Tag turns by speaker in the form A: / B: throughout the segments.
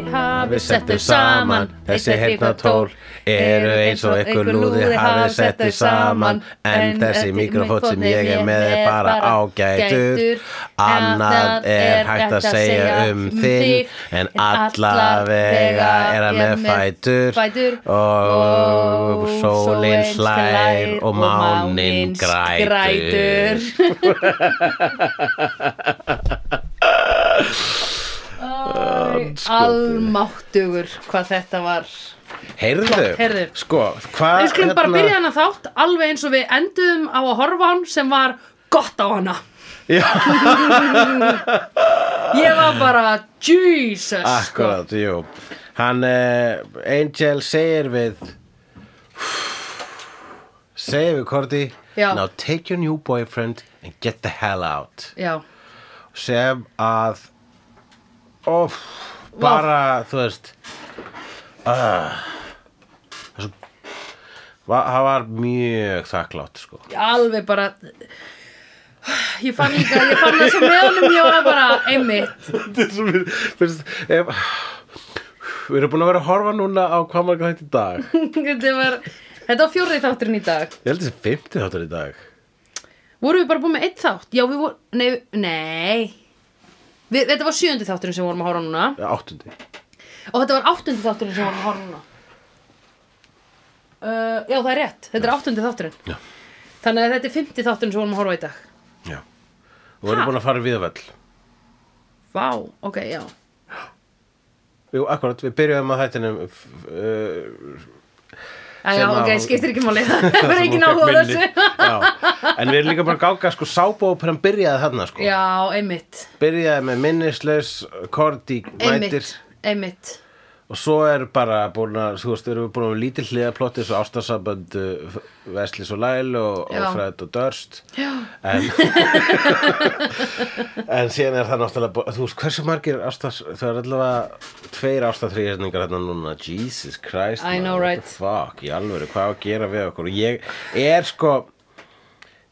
A: hafið sett þau saman Þessi heitna tól eru eins og ykkur lúði hafið sett þau saman En þessi mikrofót sem ég er með er bara ágætur Annað er hægt að segja um þig En allavega er hann með fætur Og sólinn slær og máninn grætur
B: Almáttugur hvað þetta var Flott,
A: Heyrðu,
B: heyrðu.
A: sko, hvað
B: Við skulum
A: hérna-
B: bara byrja hana þátt alveg eins og við enduðum á að horfa á hann sem var gott á hana
A: Já,
B: Ég var bara Jesus sko.
A: akkurat, jú Hann, uh, Angel segir við segir við Korti
B: Já.
A: Now take your new boyfriend and get the hell out
B: Já,
A: sem að of, bara, þú veist uh, það er svo- va- það var mjög þakklátt sko
B: alveg bara Ég fann líka, ég fann það svo meðanum ég var bara einmitt
A: Þetta er svo mér- fyrst, ef, Við erum búin að vera að horfa núna á hvað marga þætt í dag Ég
B: Þetta var, þetta var fjórði þátturinn í dag
A: held þessi 50 þáttur í dag
B: Vorum við bara búin með eitt þátt? Já, við vorum, nei, nei við, Þetta var sjöundi þátturinn sem við vorum að horfa á núna
A: Eða Áttundi
B: Og þetta var áttundi þátturinn sem við vorum að horfa núna uh, Já, það er rétt Þetta er áttundi þátturinn
A: Já.
B: Þannig að þetta er fymti þátturinn sem við vorum að horfa á í dag
A: Já Og við erum
B: Ha?
A: búin að fara við vell
B: Vá, ok, já
A: Jú, akkurat, við byrjuðum að þættinum f- f- uh,
B: Æ, Já,
A: Sem
B: ok,
A: að-
B: skiptir ekki máli Það
A: það
B: er
A: sem
B: ekki
A: hún
B: náhuga
A: fékk
B: þessu
A: minni. Já, en við erum líka bara að ganga sko sábóperan byrjaði þarna sko
B: Já, einmitt
A: Byrjaði með minnislaus, Korti, mætir
B: Einmitt, einmitt
A: Og svo er bara búin að, þú veist, erum við búin að vera lítið hliðaplotti svo ástarsambönd Veslis og Læl og, og
B: Já.
A: Fred og Dörst
B: Já.
A: en, en síðan er það náttúrulega, bú- þú veist, hversu margir ástars, þau eru allavega tveir ástatrýðningar hérna núna, Jesus Christ
B: I
A: maður,
B: know,
A: what
B: right.
A: the Fuck, í alvöru, hvað á að gera við okkur Og ég er sko,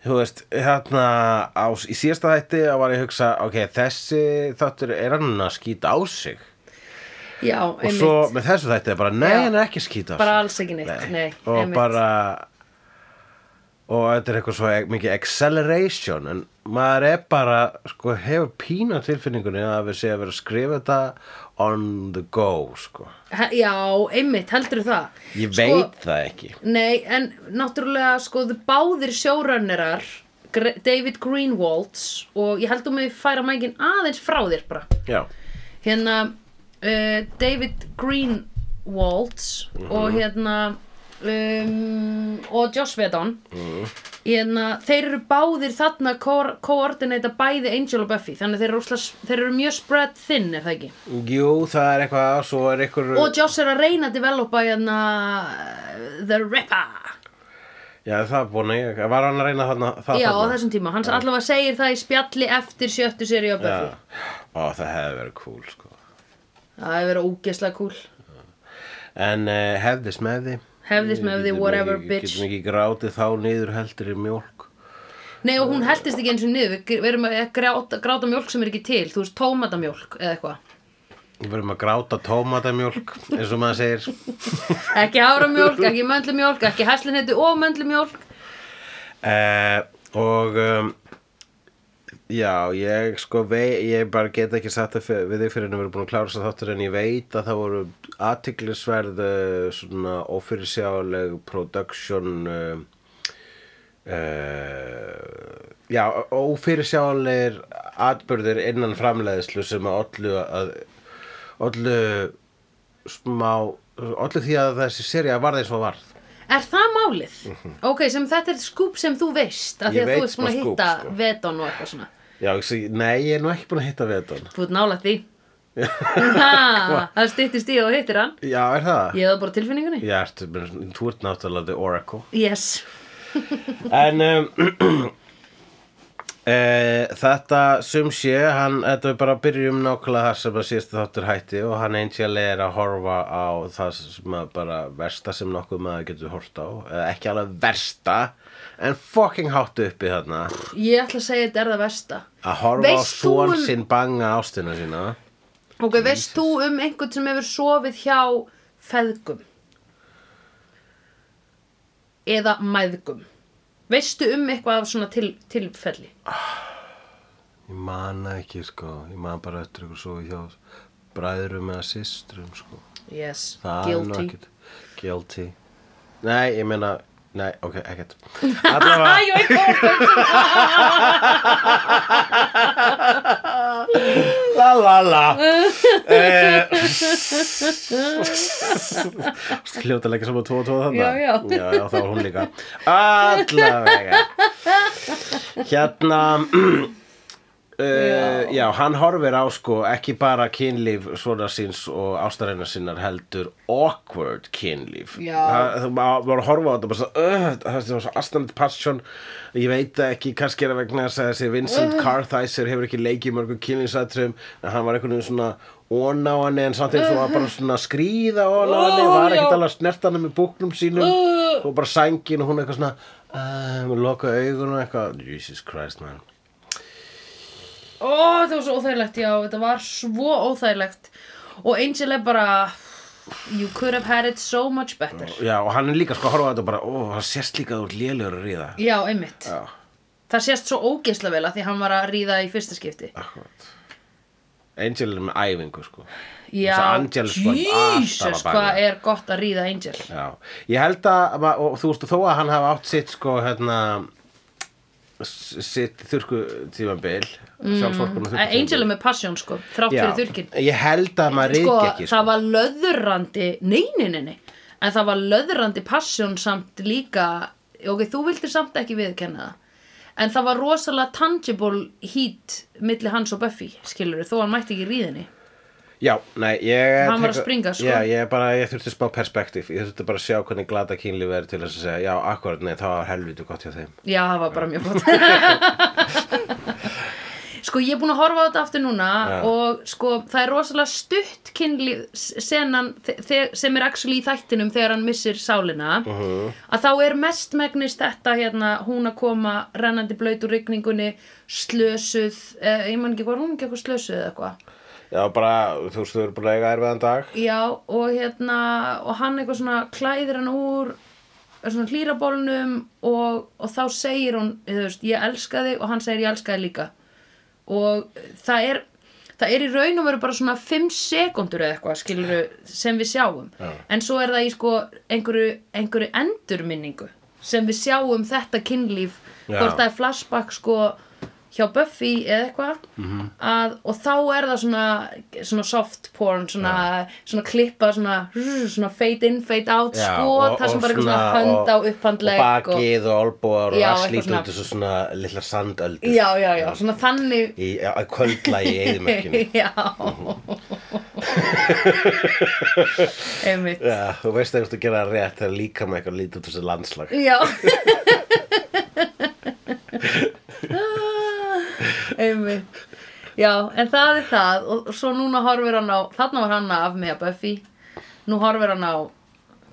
A: þú veist, þarna á, í síðasta þætti var ég að hugsa, ok, þessi þáttur er hann að skýta á sig
B: Já,
A: og
B: einmitt
A: svo með þessu þætti er bara nei,
B: Já.
A: hann er ekki að skýta á
B: Bara
A: sig.
B: alls ekki neitt, nei,
A: og
B: einmitt.
A: bara og þetta er eitthvað svo e- mikið acceleration en maður er bara sko, hefur pína tilfinningunni að við séum að vera að skrifa þetta on the go sko.
B: He- Já, einmitt, heldur það
A: ég
B: Sko-
A: veit það ekki
B: Nei, en náttúrulega sko þau báðir sjórunnerar David Greenwalds og ég held um að færa mækin aðeins frá þér bara
A: já,
B: hérna uh, David Greenwalds og hérna um, og Josh Vedon hérna, þeir eru báðir þarna ko- koordinata bæði Angel og Buffy þannig að þeir eru, úsla, þeir eru mjög spread thin er það ekki
A: jú það er eitthvað svo er eitthvað
B: og Josh er að reyna að developa hérna uh, The Ripper
A: já það er búin að ég var hann að reyna þarna það
B: Já, á
A: þarna?
B: þessum tíma. Hans allavega segir það í spjalli eftir sjöttu séri á Buffy.
A: já. Ó, það hefði verið cool sko.
B: Það hefur verið ógeðslega cool.
A: en uh, hefðis með því
B: Hefðis með því,
A: Getum
B: whatever,
A: ekki,
B: bitch.
A: getum ekki grátið þá niður heldur í mjólk
B: Nei, og hún heldist ekki eins og niður. Við gr- við erum að gráta, gráta mjólk sem er ekki til. Þú veist, tómatamjólk eða eitthvað.
A: við verðum að gráta tómatamjólk eins og maður segir
B: Ekki haframjólk, ekki möndlumjólk, ekki hæslinhetu og möndlumjólk.
A: uh, og um, já, ég sko vei, ég bara get ekki satt það fyr- við þig fyrir en við erum búin að klára þess að þáttur en ég veit að það voru athyglisverð eh, svona ófyrirsjáleg production um, uh, já, ófyrirsjáleir atbyrðir innan framleiðslu sem að ollu að ollu smá, ollu því að þessi serja varði svo varð
B: Er það málið? Ok, sem þetta er skúp sem þú veist. Af því
A: Mhm. Ég
B: að
A: veit
B: þú ert búin að
A: smá skúp,
B: hitta
A: sko.
B: veton og eitthvað svona.
A: já, ég segi- nei, ég er nú ekki búin að hitta við þetta
B: Þú ert nálægt því. Ha, Það styttist í og hittir hann.
A: já, er það?
B: Ég hefði bara á tilfinningunni.
A: já, ertu, menn, þú ert náttúrulega the oracle
B: Yes.
A: en um, e, þetta sum sé hann, þetta er bara að byrjum nákvæmlega þar sem að síðast þáttur hætti og hann Angel er að horfa á það sem að bara versta sem nokkuð maður getur hort á eða ekki alveg versta en fucking hátt uppi þarna
B: Ég ætla að segja þetta er það versta
A: að horfa
B: Veist
A: á
B: þú
A: svon
B: um-
A: sinn banga ástina sína
B: ok, veist þú um einhvern sem hefur sofið hjá feðgum eða mæðgum veistu um eitthvað af svona til, tilfelli
A: Ég man það ekki sko, ég man bara eftir ykkur svo hjá bræðrum eða systrum sko.
B: yes,
A: Það er nú
B: guilty
A: ekkert. Guilty. Nei, ég meina, nei, ok, ekkert.
B: Æ,
A: Allavega,
B: ég veit hvað
A: la la la. Eh, Hljóta að leggja saman tvo og tvo þannig.
B: Já, já.
A: Já, já, það var hún líka. Allavega. Hérna, Uh, já, hann horfir á sko ekki bara kynlíf svona síns og ástarinnar sinnar heldur awkward kynlíf
B: Já.
A: Það- þú ma- maður horfa á þetta bara svo, uh, það er svo astanit passion ég veit það ekki, kannski er það vegna þess að þessi Vincent Kartheiser hefur ekki leikið í mörgum kynlífsatriðum en hann var einhvern veginn svona ón á hann en samt eins og var bara svona að skríða ón á hann,
B: Ó,
A: var
B: já.
A: ekkert alveg að snerta hann með búknum sínum
B: Uh.
A: og bara sængin og hún eitthvað svona uh, með loka augun og eitthvað Jesus Christ man
B: Ó, það var svo óþægilegt, já, þetta var svo óþægilegt og Angel er bara you could have had it so much better
A: Já, og hann er líka sko að horfa á þetta og bara, ó, það sést líka að þú ert lélegur að ríða.
B: Já, einmitt
A: Já,
B: Það sést svo ógeisla vel að því hann var að ríða í fyrsta skipti
A: akkurat. Angel er með æfingu, sko.
B: Já,
A: Þessi Angel er sko alltaf
B: Jesus,
A: að baka.
B: hvað er gott að ríða Angel
A: Já, ég held að, ma- og þú veist, þó að hann hafa átt sitt, sko, hérna, s- sitt þurrku tímabil, mm. sjálfsvorkunum þurrku
B: Eh, Angel er með passion, sko, þrátt fyrir þurrkinn
A: Ég held að maður
B: Sko,
A: rík ekki, sko.
B: það var löðurandi Nei, nei, nei, nei En það var löðurandi passion samt líka Ok, þú vildir samt ekki viðkenna það En það var rosalega tangible heat milli hans og Buffy, skilur þó hann mætti ekki ríðinni.
A: Já, nei, ég...
B: Hann var að
A: tek-
B: springa, sko.
A: Já, ég bara, ég þurfti smá perspektíf. Ég þurfti bara að sjá hvernig glata kynlíf er til þess að segja, já, akkurat, nei, það var helviti gott hjá þeim.
B: Já, það var bara mjög gott. sko, ég er búin að horfa á þetta aftur núna
A: Já.
B: og sko, það er rosalega stutt kynlíf senan þe- þe- sem er actually í þættinum þegar hann missir sálina að þá er mestmegnis þetta hérna hún að koma rennandi blaut úr rigningunni slösuð, eh, ég man ekki hvað, hún ekki eitthvað slösuð eða eitthvað
A: Já, bara, þú veist, þú eru búin að eiga erfiðan dag.
B: Já, og hérna, og hann eitthvað svona klæðir hann úr er svona hlýrabólnum og, og þá segir hún, þú veist, ég elska þig og hann segir ég elska þig líka og það er það er í raun og veru bara svona 5 sekundur eða eitthvað, skilur sem við sjáum
A: Já.
B: en svo er það í sko einhverju, einhverju endurminningu sem við sjáum þetta kynlíf
A: Já.
B: hvort það er flashback sko hjá Buffy eða eitthvað
A: Mhm.
B: -hmm. að, og þá er það svona, svona soft porn svona, svona klippa svona, svona fade in, fade out
A: Já,
B: skot, Sko, það sem bara eitthvað svona hönd á upphandleg
A: og bakið og olbúar og
B: Já,
A: allt
B: eitthvað
A: lítið
B: svona-
A: út þessu svona lilla sandöldu
B: já, já, já, svona þannig
A: í að kvöldla í eigðumörkinu
B: já
A: Mhm.
B: einmitt
A: Já, þú veist að þú gera það rétt þegar líka með eitthvað lítið út þessu landslag
B: já einmitt já, en það er það og svo núna horfir hann á, þarna var hann af með Buffy, nú horfir hann á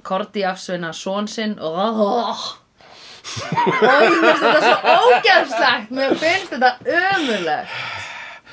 B: Korti afsveina són sinn og það oh. og ég finnst þetta svo ógjöfslegt mér finnst þetta ömurlegt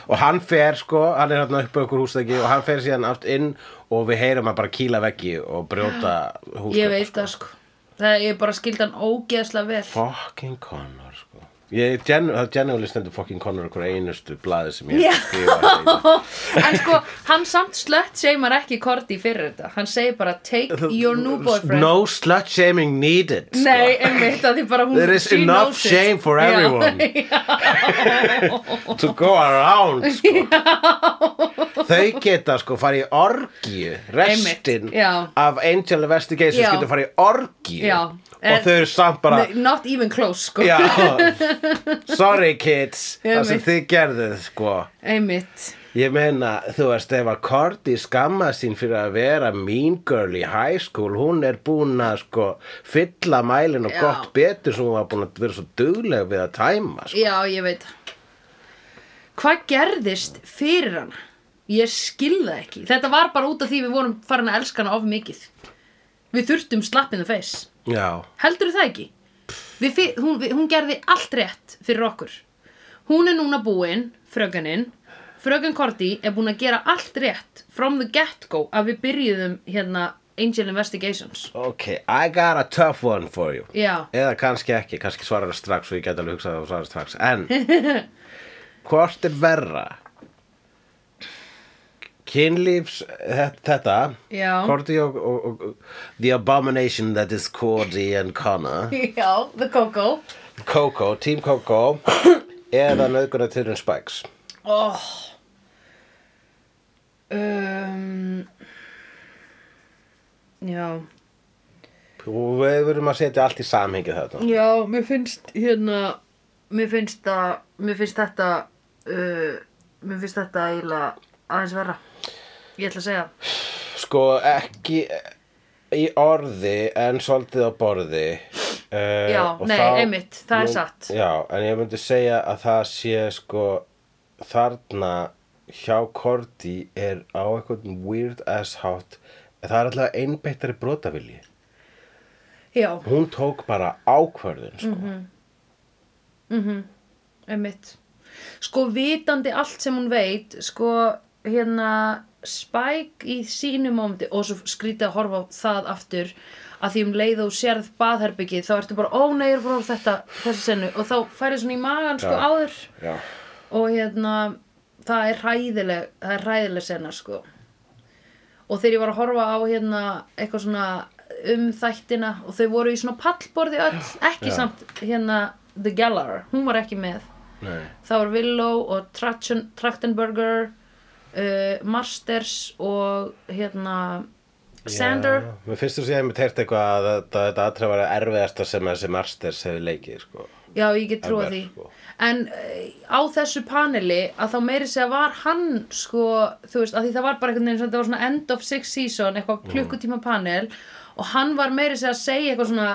A: og hann fer sko, hann er hérna upp á okkur húsdegi og hann fer síðan aft inn og við heyrum að bara kýla veggi og brjóta húsdegi
B: Ég veit það sko Það er bara skildan ógeðslega vel
A: Fucking Connor sko Ég, gen, það genuinely stendur fucking Connor okkur einustu blaði sem ég
B: Já.
A: hef skrifað í.
B: En sko, hann samt slött seimar ekki Korti fyrir þetta Hann segir bara take your new boyfriend
A: No slut shaming needed sko.
B: Nei, einmitt að því bara hún
A: There is
B: she
A: enough
B: knows it.
A: shame for
B: Já,
A: everyone.
B: já,
A: to go around sko. þau geta sko farið í orgju restin
B: Einmitt, já.
A: af Angel Investigations
B: Já.
A: geta farið í orgju
B: Já. Eh,
A: og þau eru samt bara
B: nei, Not even close sko
A: já, sorry kids það sem
B: Einmitt.
A: þið gerðuð sko
B: Einmitt
A: Ég meina, þú veist, ef að Korti skamma sín fyrir að vera mean girl í high school, hún er búin að sko fylla mælin og
B: Já.
A: gott betur sem hún var búin að vera svo dugleg við að tæma, sko.
B: Já, ég veit það. Hvað gerðist fyrir hana? Ég skil það ekki Þetta var bara út af því við vorum farin að elska hana of mikið Við þurftum slapp in the face
A: Já,
B: Heldur það ekki? Við, fi- hún, við, hún gerði allt rétt fyrir okkur. Hún er núna búin, fröganinn, Fröken Korti er búin að gera allt rétt from the get-go að við byrjuðum hérna Angel Investigations
A: Ok, I got a tough one for you
B: Já,
A: Eða kannski ekki, kannski svarar það strax og ég get alveg hugsað að það svarar strax En, hvort er verra? Kynlífs, þe- þetta
B: Já.
A: Cordy og, og, og The Abomination that is Cordy and Connor
B: já, The Coco
A: Coco, Team Coco Eða nöðguna tilurinn Spikes
B: oh. um, Já
A: Og við verum að setja allt í samhengi þetta
B: Já, mér finnst hérna Mér finnst, að, mér finnst þetta uh, Mér finnst þetta eiginlega aðeins verra Ég ætla að segja
A: Sko, ekki í orði en svolítið á borði uh,
B: Já,
A: og
B: nei, einmitt, það er satt.
A: Já, en ég myndi segja að það sé sko þarna hjá Korti er á eitthvað weird ass hátt en það er alltaf einbeittari brotavilji
B: Já,
A: hún tók bara ákvörðun sko.
B: Mhm. einmitt Sko vitandi allt sem hún veit Sko hérna Spike í sínu mómenti og svo skrítið að horfa á það aftur að því um leið og þú sérð baðherbyggið þá ertu bara, ó nei, ég er frá þetta þessi senu og þá færið svona í magan sko
A: Já.
B: áður
A: Já,
B: og hérna það er hræðileg það er hræðileg sena sko og þegar ég var að horfa á hérna eitthvað svona um þættina og þau voru í svona pallborði öll ekki
A: Já.
B: samt hérna The Gallar, hún var ekki með
A: nei
B: það var Willow og Trachten, Trachtenberger uh, Masters og hérna Xander
A: Já, Mér finnst þú séð með teirt eitthvað að þetta, þetta aðtrað var að erfiðasta sem þessi Masters hefur leikið sko.
B: Já, ég get trúa
A: Alveg,
B: því.
A: sko.
B: En uh, á þessu paneli að þá meiri segja var hann sko, þú veist, að því það var bara einhvern veginn sem þetta var svona end of six season,
A: Mm.
B: eitthvað klukkutíma panel og hann var meiri segja að segja eitthvað svona,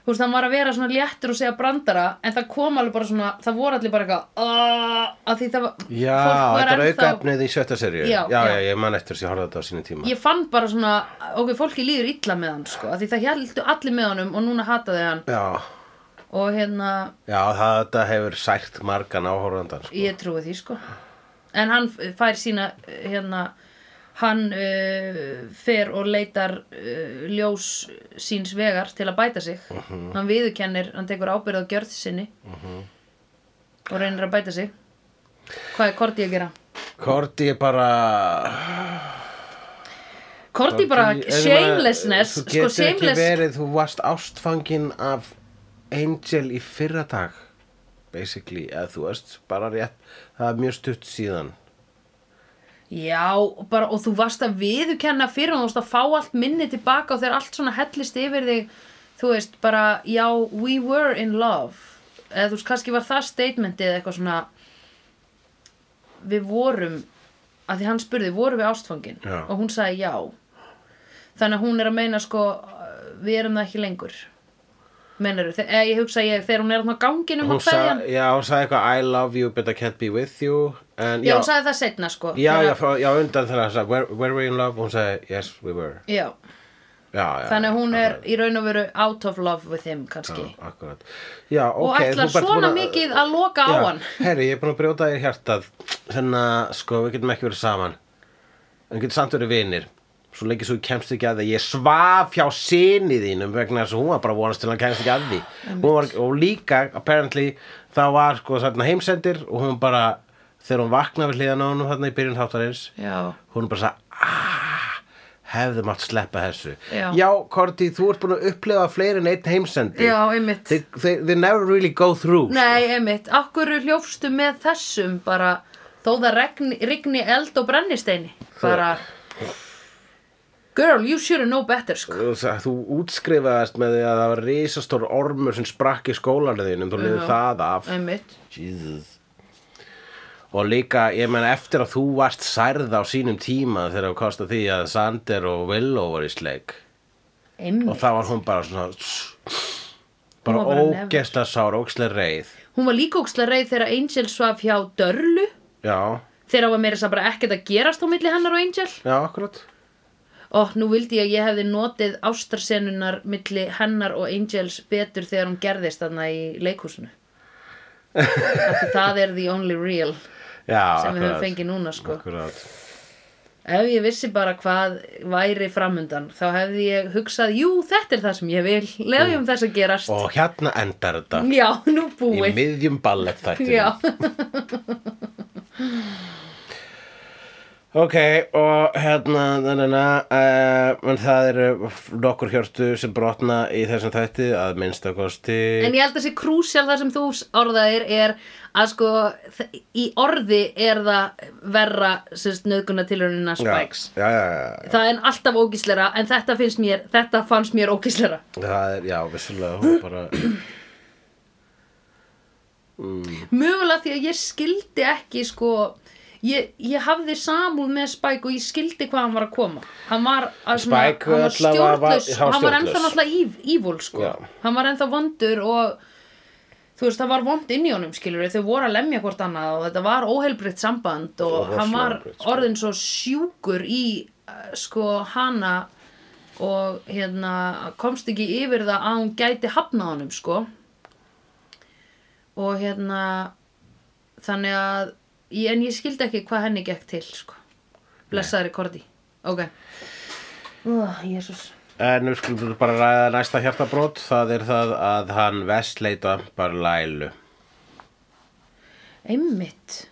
B: þú veist, hann var að vera svona léttur og segja brandara en það kom alveg bara svona, það voru allir bara eitthvað "Ah", að því það var,
A: Já, þetta er aukaefnið í sjötta serju
B: Já,
A: já,
B: já.
A: ég man eftir þess að ég horfði á þetta á sínu tíma
B: Ég fann bara svona, ok, fólki líður illa með hann sko, að því það heldu allir með honum og núna hataði hann
A: Já,
B: og hérna,
A: já það, þetta hefur sært margan áhorfandan sko.
B: Ég trúi því sko En hann f- fær sína uh, hérna hann uh, fer og leitar uh, ljós síns vegar til að bæta sig
A: Mhm.
B: Hann viðurkennir, hann tekur ábyrð á gjörð sinni og reynir að bæta sig Hvað er Korti að gera?
A: Korti er bara
B: Korti bara
A: Ég meina,
B: shamelessness
A: Þú
B: sko
A: getur
B: shameless
A: ekki verið, þú varst ástfangin af Angel í fyrra dag basically, eða þú veist bara rétt, það er mjög stutt síðan
B: Já, og bara, og þú varst að viðurkenna fyrir og þú varst að fá allt minni tilbaka og þegar allt svona hellist yfir þig, þú veist, bara, já, we were in love. Eða þú veist, kannski var það statementið eða eitthvað svona, við vorum, að því hann spurði, vorum við ástfangin?
A: Já.
B: Og hún sagði já. Þannig að hún er að meina, sko, við erum það ekki lengur. Meinar þú, eða ég hugsa ég, þegar hún er þarna á ganginum
A: hún
B: og hverja.
A: sagði, já, hún sagði eitthvað I love you but I can't be with you en,
B: Já, hún sagði það setna, sko.
A: já,
B: Þegar-
A: já, frá- já, undan þegar hann sagði where, where were you in love? Hún sagði yes we were
B: Já.
A: já, já,
B: Þannig að hún
A: já,
B: er í raun og veru out of love with him kannski.
A: já, akkurat. já, ok
B: og
A: þú
B: ætlar
A: ert búin
B: svona
A: að-
B: mikið að loka á hann.
A: herri, ég er búin að brjóta þér hjartað þannig að sko, við getum ekki verið saman en við getum samt verið vinir svo lengi svo ég kemst ekki að því ég svaf hjá sinni þínum vegna þess að hún var bara að vonast til að hann kemst ekki að því Hún var, og líka, apparently þá var sko þarna heimsendir og hún bara, þegar hún vaknaði við hliðan á honum þarna í byrjun þáttarins
B: Já.
A: hún er bara "Ah, sagði aaaah hefðu mátt sleppa þessu
B: Já.
A: Korti, þú ert búin að upplefa fleiri en einn heimsendi
B: Já, einmitt.
A: they, they, they never really go through
B: Nei, einmitt, akkur hljófstu með þessum bara þó það regni, rigni eld og brennisteini. Bara, girl, you should know better, sko.
A: Þú, þú útskrifaðast með því að það var risastór ormur sem sprakk í skólanum þínum, þú liður
B: Já.
A: það af
B: Einmitt.
A: Jesus Og líka, ég menn eftir að þú varst særð á sínum tíma þegar þú kosta því að Sander og Willow var í sleik og
B: Einmitt.
A: þá var hún bara svona bara,
B: Hún var bara
A: ógeðslega sár, ógeðslega reið
B: Hún var líka ókslega reið þegar Angel svaf hjá Dörlu.
A: Já,
B: Þegar það var meira þess að bara ekkert að gerast á milli hennar og Angel.
A: já, akkurat
B: Og nú vildi ég að ég hefði notið ástarsenunar milli hennar og Angels betur þegar hún gerðist þarna í leikhúsinu. Af því það er the only real. sem við höfum fengið núna sko.
A: Akkurat.
B: ef ég vissi bara hvað væri framundan þá hefði ég hugsað, jú þetta er það sem ég vil lefjum þess að gerast
A: Og hérna endar þetta
B: já, nú
A: í
B: búið
A: miðjum ballett
B: já,
A: Ok, og hérna, hérna, uh, en það eru nokkur hjörtu sem brotna í þessum þætti að minnsta kosti
B: en ég held að þessi krúsjál það sem þú orðaðir er að sko þ- í orði er það verra nöðguna tilhörunina Spikes
A: Já, já, já, já.
B: það er alltaf ógíslera en þetta finnst mér, þetta fannst mér ógíslera
A: Það er, já, vissulega, hún bara,
B: mögulega því að ég skildi ekki sko ég, ég hafði samúð með Spike og ég skildi hvað hann var að koma hann var, að svona,
A: Spike
B: hann var
A: allavega var-
B: stjórnlaus
A: hann var
B: hann var ennþá
A: stjórnlaus.
B: náttúrulega ív- ívul sko
A: Já.
B: hann var ennþá vondur og þú veist það var vond inn í honum skilur þau voru að lemja hvort annað og þetta var óheilbritt samband og,
A: Og
B: hann var
A: rosalega óheilbrigt, sko.
B: orðin svo sjúkur í eh, sko hana og hérna komst ekki yfir það að hún gæti hafnað honum sko og hérna þannig að ég, en ég skildi ekki hvað henni gekk til sko. blessaðri kordi ok oh, jésus
A: en nú skulum við bara ræða næsta hjartabrót, það er það að hann Wesley dampar Lælu.
B: einmitt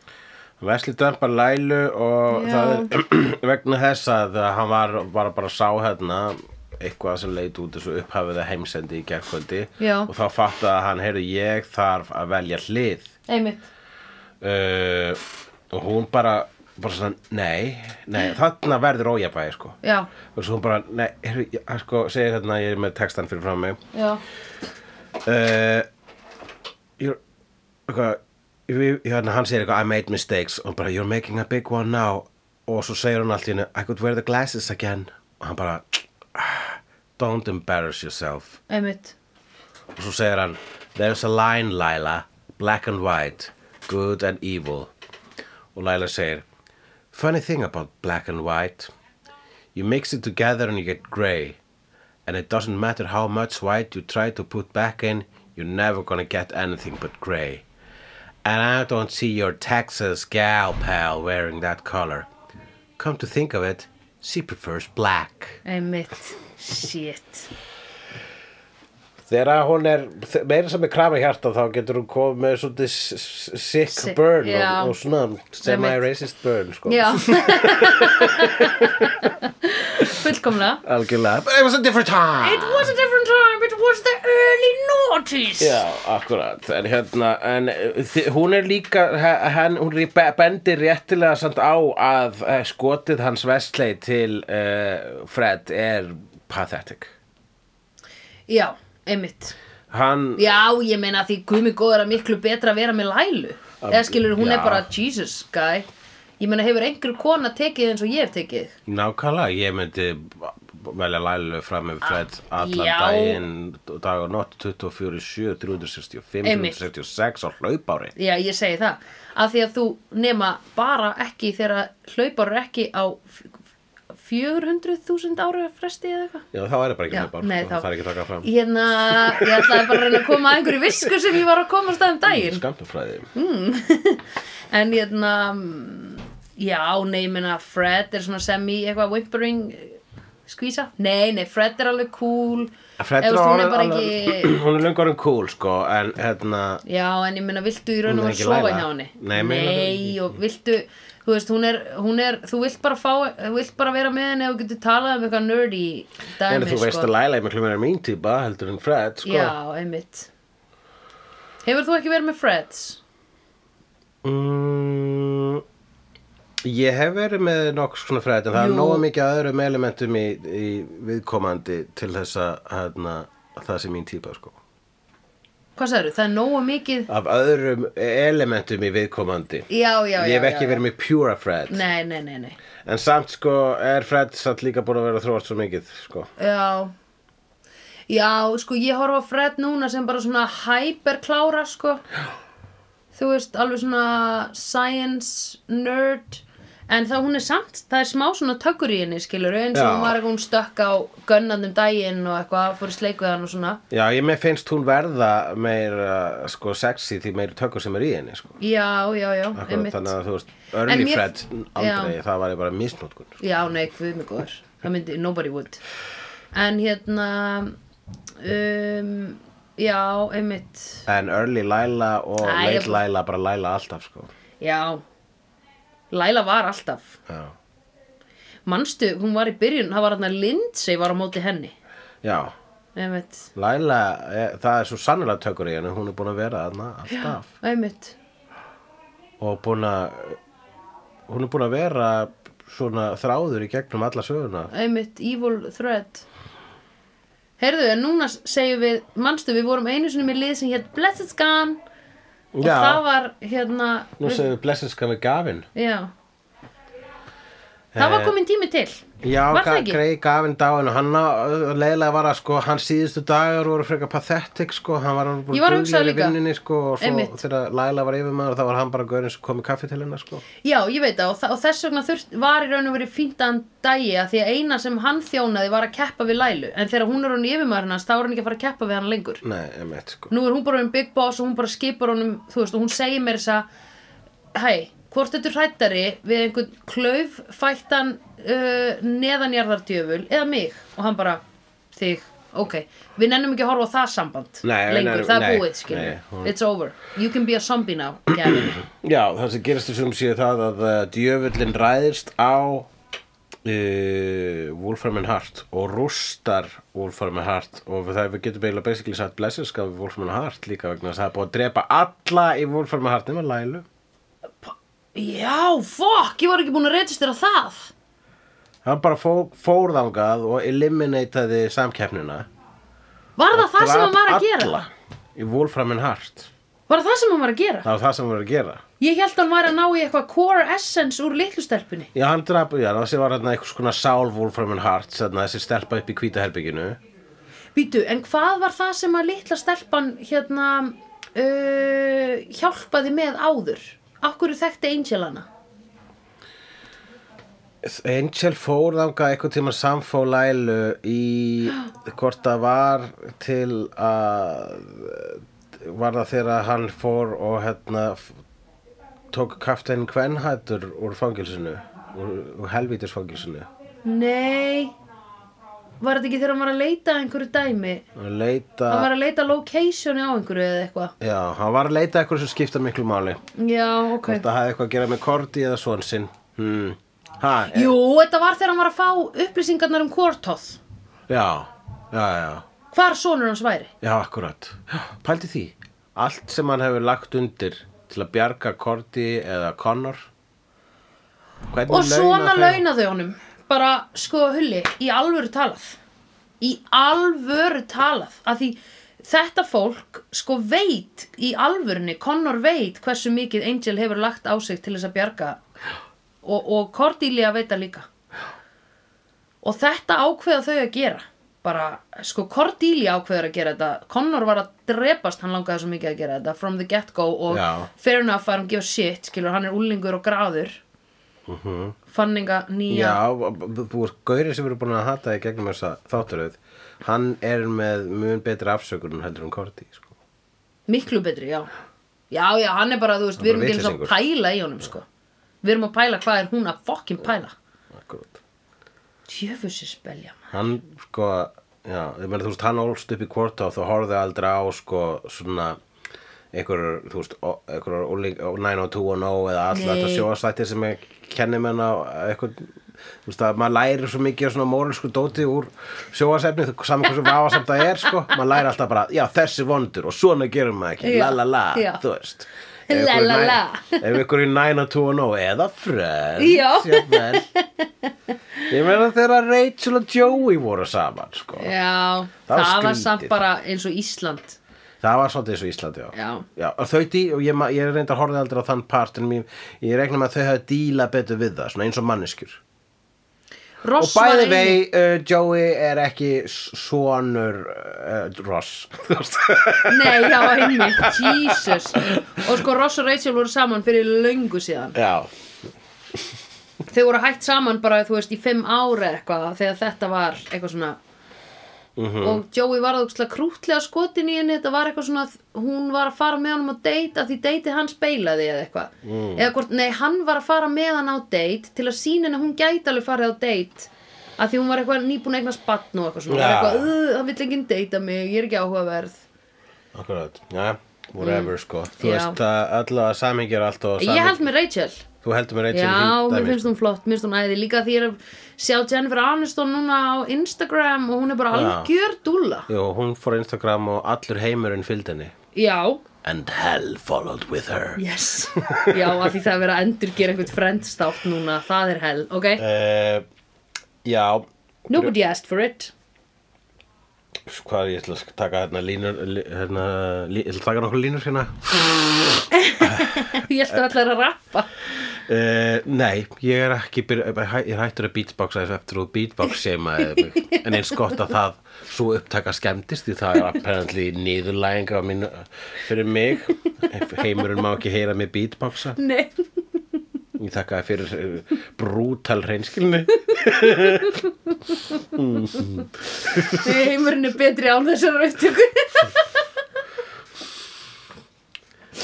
A: Wesley dampar Lælu og
B: Já.
A: það er vegna þess að hann var bara, bara sá hérna eitthvað sem leit út þessu upphafið að heimsendi í gerkvöldi
B: Já.
A: og þá fattaði að hann, heyrðu, ég þarf að velja hlið.
B: einmitt
A: Uh, og hún bara, bara svona, nei, nei, þarna verður ójafæði, sko.
B: já
A: og svo hún bara, nei, heyrðu, ég- hann sko segir hérna, ég er með textan fyrir fram mig
B: já
A: uh, you're, eitthvað, við- hérna, hann segir eitthvað, I made mistakes og hún bara, you're making a big one now og svo segir hún allt í hennu, I could wear the glasses again og hann bara "Ah, don't embarrass yourself
B: einmitt
A: og svo segir hann, there's a line Lila, black and white good and evil og Lila segir, funny thing about black and white You mix it together and you get grey. And it doesn't matter how much white you try to put back in, you're never gonna get anything but grey. And I don't see your Texas gal pal wearing that color. Come to think of it, she prefers black.
B: einmitt shit
A: Þegar hún er þe- meira sem er krafa hjarta þá getur hún komið með svolítið s- s- sick
B: Sick,
A: burn
B: já.
A: og, og svona semi-racist burn sko.
B: já fullkomlega
A: Algjörlega. But it was a different time.
B: it was a different time it was the early noughties
A: Já, akkurat, en hérna, en uh, þi- hún er líka, he- henn, hún rí- be- bendir réttilega samt á að eh, skotið hans vestlei til uh, Fred er pathetic.
B: já einmitt
A: Hann,
B: Já, ég meina því gumi góður að miklu betra að vera með lælu Eða skilur, hún er
A: já.
B: bara Jesus guy Ég meina, hefur einhver kona tekið eins og ég hef tekið
A: nákvæmlega, ég myndi b- b- velja lælu fram með Fred allan
B: Ah, já.
A: daginn, dag og nótt 24, 7, 365,
B: Einmitt.
A: 366 á hlaupári.
B: Já, ég segi það Af því að þú nema bara ekki þegar hlaupar eru ekki á f- 400.000 ára fresti eða eitthvað
A: Já, þá er það bara ekki
B: Já,
A: hlaupár,
B: nei, þá
A: það er ekki takað fram.
B: Hérna, ég ætlaði bara að reyna að koma að einhverju visku sem ég var að komast að um daginn
A: Skamtafræði.
B: Hm? En hérna, mm, já, nei, ég meina Fred er svona semi eitthvað whimpering eh, skvísa Nei, nei, Fred er alveg cool
A: Fred
B: Eða,
A: er
B: þú veist, hún er
A: orðin
B: bara
A: alveg-
B: ekki-
A: hún er löngu orðin cool sko en hérna
B: Já, en ég meina, viltu í raun og
A: Hún
B: að
A: er ekki
B: sofa
A: læra.
B: hjá henni?
A: Nei, meina
B: Nei, og viltu, þú veist, hún er, hún er, þú vilt bara fá, þú vilt bara vera með henni og getur talað um eitthvað nerdy
A: en
B: dæmi, sko.
A: þú veist að Laila er miklu meira mín típa heldur en Fred sko
B: Já, einmitt. Hefur þú ekki verið með Freds?
A: mm, ég hef verið með nokkuð svona Fred en
B: Jú.
A: það er nógu mikið af öðrum elementum í, í viðkomandi til þess að hérna, það sé mín típa sko
B: Hvað sagður, það er nógu mikið?
A: af öðrum elementum í viðkomandi
B: Já, já, já.
A: ég hef
B: já,
A: ekki
B: já.
A: verið með pure Fred
B: Nei, nei, nei, nei.
A: en samt sko er Fred samt líka búin að vera þróast svo mikið sko
B: Já. Já, sko, ég horfa á Fred núna sem bara svona hyperklára, sko. Þú veist, alveg svona science nerd. en þá hún er samt, það er smá svona tökur í henni skilur eins og
A: Já.
B: hún var eitthvað hún stökk á gönnandum daginn og eitthvað fór í sleik við hann og svona
A: Já, ég með finnst hún verða meira sko, sexy því meiri tökur sem er í henni sko.
B: já, já, já,
A: Akkurat,
B: einmitt
A: þannig að þú veist, early
B: En mér-
A: Fred aldrei, það var ég bara misnótkun sko.
B: já, nei, hvað mig góður það myndi, nobody would en hérna um, já, einmitt
A: En early Laila og
B: Æ,
A: late
B: ég-
A: Laila bara Laila alltaf sko.
B: já Laila var alltaf
A: Já,
B: manstu, hún var í byrjun, það var hann að Lindsay var á móti henni
A: Já.
B: einmitt,
A: Laila, eh, það er svo sannilega tökur í henni hún er búin að vera þarna alltaf
B: einmitt
A: og búin að hún er búin að vera svona þráður í gegnum alla söguna
B: einmitt evil thread heyrðu, en núna segjum við manstu, við vorum einu sinni með lið sem hétt Blessed Scan og
A: Já.
B: það var hérna
A: Nú segjum við blessinska við gafin
B: já það var komin tími til
A: Eh. Já,
B: var það
A: Ga-
B: ekki?
A: Grey gaf henni dáin og hann á- leiðilega var að sko, hans síðustu dagar voru frekar pathetic sko, hann var
B: Ég var að
A: alveg
B: hugsa það
A: duglegur í
B: líka.
A: vinninni sko og svo
B: Einmitt.
A: þegar Laila var yfirmaður þá var hann bara gaurinn sem kom í kaffi til hennar sko.
B: já, ég veit það og, þa og þess vegna þurft, var í raun og verið fíntan dagi að því að eina sem hann þjónaði var að keppa við Lælu en þegar hún er hún í yfirmaður hans þá er hann ekki að fara að keppa við hann lengur
A: Nei, emitt sko.
B: nú er hún bara um big boss og hún bara skipar honum þú veist og hún segir mér þess að hei, hvort þetta er hrættari við einhvern klaufættan uh, neðanjarðardjöful eða mig og hann bara þig, ok, við nennum ekki að horfa á það samband
A: Nei, við
B: lengur,
A: nennum-
B: það er
A: nei,
B: búið skilur,
A: nei, hún-
B: it's over you can be a zombie now Gavin.
A: Já, það sem gerist þessum séu það að uh, djöfullin ræðist á uh, Wolfram and Hart og rústar Wolfram and Hart og það við getum eiginlega basically sagt blessinska við Wolfram and Hart líka vegna þess að það er búið að drepa alla í Wolfram and Hart nema Lailu.
B: já, fuck, ég var ekki búin að registrera það
A: Hann bara fó, fór þangað og eliminataði samkeppnina.
B: var það það sem
A: Drap
B: hann var að gera
A: alla Í Wolfram and Heart
B: var það það sem hann var að gera
A: Það var það sem hann var að gera
B: ég held hann var að ná í eitthvað core essence úr litlustelpunni
A: Já, hann draf, já, þessi var hérna einhvers konar sál Wolfram and Heart Þannig þessi stelpa upp í hvítaherbygginu
B: Býtu, en hvað var það sem að litla stelpan hérna uh, hjálpaði með áður? Akkur þekkti Angel hana?
A: Angel fór þangað einhvern tíma samfó Lælu í hvort það var til að var það þegar hann fór og hérna f- tók kaftin kvenhættur úr fangilsinu úr, úr helvítisfangilsinu
B: Nei, var þetta ekki þegar hann var að leita að einhverju dæmi?
A: og leita
B: Hann var að leita locationi á einhverju eða eitthvað?
A: Já, hann var að leita eitthvað sem skipta miklu máli
B: Já, ok.
A: Hvort það hafði eitthvað að gera með Korti eða svon sinn hmm. ha, e-
B: Jú, þetta var þegar hann var að fá upplýsingarnar um Kortoth.
A: Já, já, já,
B: Hvar sonur hans væri?
A: já, akkurat Pældi því, allt sem hann hefur lagt undir til að bjarga Korti eða Connor Hvernig
B: Og svona
A: þeim-
B: launa þau honum. Bara, sko, hulli, í alvöru talað. Í alvöru talað. Af því þetta fólk, sko, veit í alvörunni, Connor veit hversu mikið Angel hefur lagt á sig til þess að bjarga. Og, og Cordelia veit það líka. Og þetta ákveða þau að gera. Bara, sko, Cordelia ákveður að gera þetta. Connor var að drepast, hann langaði svo mikið að gera þetta. From the get-go og
A: Já.
B: fair enough að hann gefa shit, skilur, hann er úlingur og gráður. Fanninga nýja.
A: Já, búið gaurið sem eru búin að hata í gegnum þessa þátturöð Hann er með mun betri afsökunum heldur um Korti sko.
B: Miklu betri, já. Já, já, hann er bara, þú veist,
A: Hann
B: við
A: er
B: erum
A: bara
B: ekki eins og að
A: vitleysingur.
B: pæla í honum, sko. Við erum að pæla hvað er hún að fokkin pæla.
A: Akkurat
B: Djöfusi spelja, maður.
A: hann sko já, ég meina þú veist hann ólst upp í kvorta og þú horfði aldrei á sko svona einhverjur, þú veist, o- einhverjur úling- 90210 eða alltaf
B: Nei.
A: þetta sjóastætti sem ég kenni menn á eitthvað, þú veist að maður læri svo mikið á svona mórelsku dóti úr sjóasefni, saman hversu vafasamt það er sko, maður læri alltaf bara, já þessi vondur og svona gerum maður ekki,
B: Já,
A: la la la
B: já.
A: þú veist
B: La,
A: Ef einhverjur
B: la,
A: nine-
B: la.
A: ef ykkur oh í 90210 eða frönd
B: Já.
A: jafnvel. Ég meina þegar Rachel og Joey voru saman, sko.
B: Já,
A: Það
B: það,
A: var
B: var
A: skrítið.
B: samt bara eins og Ísland.
A: Það var svolítið eins og Íslandi, já.
B: Já.
A: og þau dí, og ég, ma- ég reyndar að horfa aldrei á þann part, en mér, ég regna með að þau hafa díla betur við það, svona eins og manneskjur.
B: Ross
A: og
B: var
A: bæði
B: eini-
A: vei, uh, Joey er ekki s- sonur uh, Ross. Þú veist?
B: Nei, já, einmitt, Jesus. Og sko, Ross og Rachel voru saman fyrir löngu síðan.
A: já.
B: þau voru hætt saman bara þú veist í fimm ára eitthvað þegar þetta var eitthvað svona og Joey var þókslega krútlega skotin í henni þetta var eitthvað svona hún var að fara með hann á date að því dateið hans beilaði eða eitthvað eða hvort, nei hann var að fara með hann á date til að sína henni að hún gæti alveg farið á date að því hún var eitthvað nýbúin að eignast batn og eitthvað svona
A: Já.
B: ja. eitthvað, "Ugh, það vill enginn deyta mig, ég er ekki áhugaverð
A: Akkurat, já, whatever sko Þú
B: Mm. Já.
A: veist að allavega samhengjur allt og
B: ég held
A: samhengjur
B: með Rachel
A: Þú heldur mér eitt sem
B: Já,
A: fínt
B: mér
A: dæmi. sko.
B: finnst hún flott, mér finnst hún æði líka því ég er að sjá Jennifer Aniston núna á Instagram og hún er bara
A: Já.
B: algjör dúlla
A: Jú, hún fór á Instagram og allur heimurinn fylgd henni
B: Já,
A: And hell followed with her
B: yes Já, af því það er verið að endur gera einhvern friendstátt núna, það er hell, ok
A: Eh, Já,
B: Nobody asked for it
A: hvað er ég ætla að taka hérna línur lí- hérna, lí, ég ætla að taka nokkuð línur hérna
B: Ég held að
A: Eh.
B: allar að rappa
A: uh, Nei, ég er ekki byrja, ég er hættur að beatboxa þessu eftir og beatbox sem að en eins gott að það svo upptaka skemmtist því það er apparently niðurlæging á mínu, fyrir mig heimurinn má ekki heyra mig beatboxa
B: Nei,
A: ég þakka þér fyrir eh, brútal reynskilni
B: því heimurinn er betri án þessar upptöku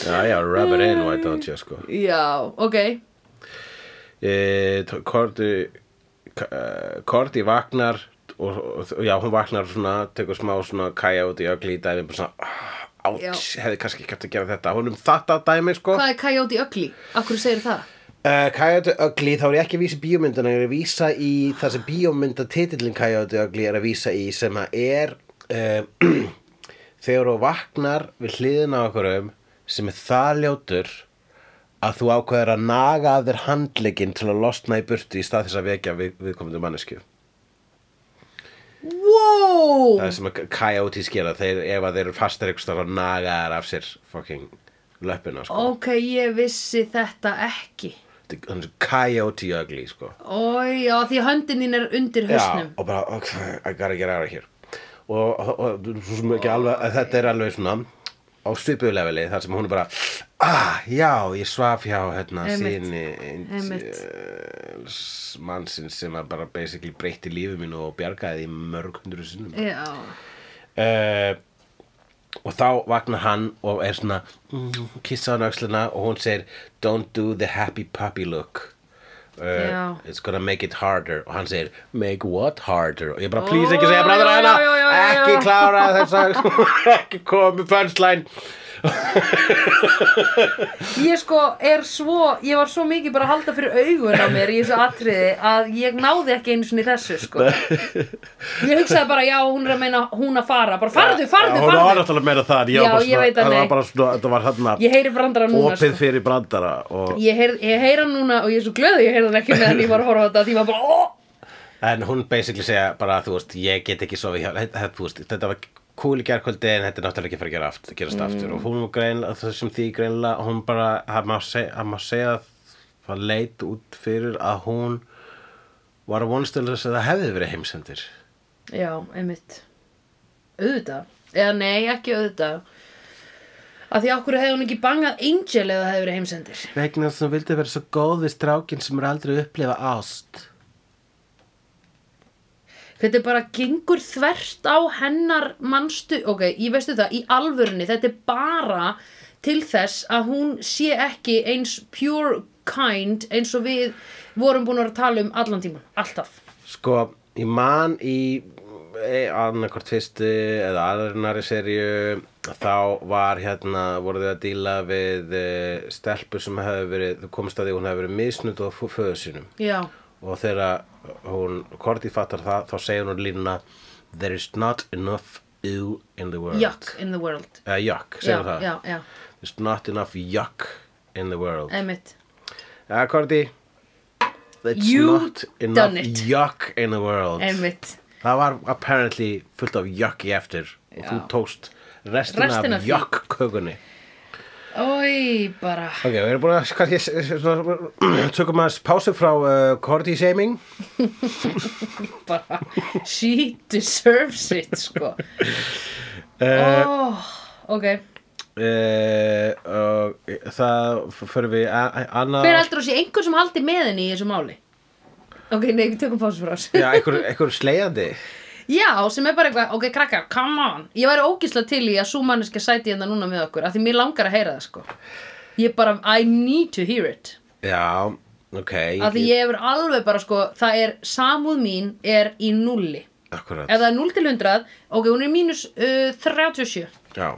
A: Já, já, rub it in, why don't you sko
B: Já, ok
A: Eh, t- Korti eh, Korti vagnar og, og já, hún vagnar svona tekur smá svona kæja út í ögli í dæmi bara svona, ah,
B: Já.
A: áts, hefði kannski ekki hægt að gera þetta hún um þetta dæmi sko
B: Hvað er Coyote Ugly? Akkur segir það?
A: uh, Coyote Ugly, þá er ég ekki að vísa í bíómyndina, ég er að vísa í það sem bíómyndatitillin Coyote Ugly er að vísa í sem að er uh, þegar þú vaknar við hliðina á okkurum sem er það ljótur að þú ákveður að naga að þér handleginn til að losna í burtu í stað þess að vekja við, viðkomandi manneskju.
B: Wow
A: Það er sem að coyotes gera, þeir, ef að þeir eru fastar ykkur stað að naga þær af sér fucking löppina, sko.
B: Ok, ég vissi þetta ekki
A: Þetta er coyote ugly, sko.
B: Ói, já, því höndin þín er undir hausnum.
A: Já, og bara, ok, I gotta get out of here og, og, og svo sem ekki alveg að þetta er alveg svona á svipuðu leveli þar sem hún er bara ah, já, ég svaf hjá hérna
B: Einmitt.
A: síni
B: Einmitt.
A: mannsinn sem að bara basically breytti lífið mínu og bjargaði því mörg hundru sinnum
B: Já.
A: uh, og þá vaknar hann og er svona mm, kissa á nöxluna og hún segir don't do the happy puppy look
B: Já.
A: Uh, it's gonna make it harder og hann segir make what harder og ég bara
B: Ó,
A: please ekki segja bræður
B: já,
A: hana
B: já, já, já, já,
A: ekki
B: já.
A: klára þess að ekki komi punchline
B: Ég sko er svo, ég var svo mikið bara að halda fyrir augun á mér í þessu atriði að ég náði ekki einu sinni þessu sko. Ég hugsaði bara, já, hún er að meina hún að fara, bara farðu, farðu,
A: Eh, hún var
B: farðu.
A: náttúrulega meira það
B: Já, ég veit að
A: það var
B: nei.
A: bara svona, þetta var hérna
B: Ég heyri brandara núna
A: opið
B: sko.
A: fyrir brandara og
B: Ég heyri, ég heyri hann núna og ég er svo glöð að ég heyri hann ekki meðan ég var að horfa á þetta því ég var bara, óh.
A: En hún basically segja bara þú veist, ég get ekki sofið hjá, þetta, þetta, þú veist, þetta var cool í gærkvöldi en þetta er náttúrulega ekki að fara að gera aftur, gerast aftur og hún var greinlega, það sem því greinlega, hún bara, það má segja, það má segja að það leit út fyrir að hún var að vonast til þess að það hefði verið heimsendir.
B: Já, einmitt. Auðvitað. Eða nei, ekki auðvitað. Af því okkur hefði hún ekki bangað Angel eða það hefði verið heimsendir.
A: Vegna þess að hún vildi vera svo góð við strákinn sem er aldrei að upplifa ást.
B: Þetta er bara gengur þvert á hennar mannstu, ok, ég veistu það, í alvörunni, þetta er bara til þess að hún sé ekki eins pure kind eins og við vorum búin að vera að tala um allan tíman, alltaf.
A: Sko, ég man í annarkvort fyrstu eða aðrunari serju þá var hérna, voru þau að díla við eh, stelpu sem hefði verið, þú komst að því að hún hefði verið misnud á fö- föður sínum
B: Já,
A: og þegar hún, Korti fattar það, þá segir hún línuna There is not enough ew in the world
B: yuck in the world.
A: Eh, yuck,
B: Já,
A: segir það
B: já, já,
A: There's not enough yuck in the world
B: emitt.
A: Ja, Korti There's
B: You
A: not
B: done
A: enough
B: it.
A: yuck in the world
B: Emitt.
A: Það var apparently fullt af jökki eftir og
B: Já.
A: þú tókst restina
B: Restina af
A: af
B: því.
A: jökkkökunni.
B: Ói, bara.
A: Ok, við erum búin að kannski s- s- svona- tökum að pásu frá uh, Cordy Shaming.
B: bara, she deserves it, sko.
A: Uh,
B: Oh, ok,
A: uh, og það f- förum við a- a- annað.
B: hver heldur þú sé einhver sem haldi með henni í þessu máli? ok, nei, við tökum pásu frá þessu
A: Já, einhver, einhver sleiðandi
B: já, sem er bara eitthvað, ok, krakkar, come on ég væri ógísla til í að svo manneska sæti hérna núna með okkur, af því mér langar að heyra það sko ég bara, I need to hear it
A: Já, ok
B: af því ég hefur alveg bara sko það er, samúð mín er í nulli
A: Akkurat,
B: ef það er 0 til 100, ok, hún er mínus uh, 37
A: já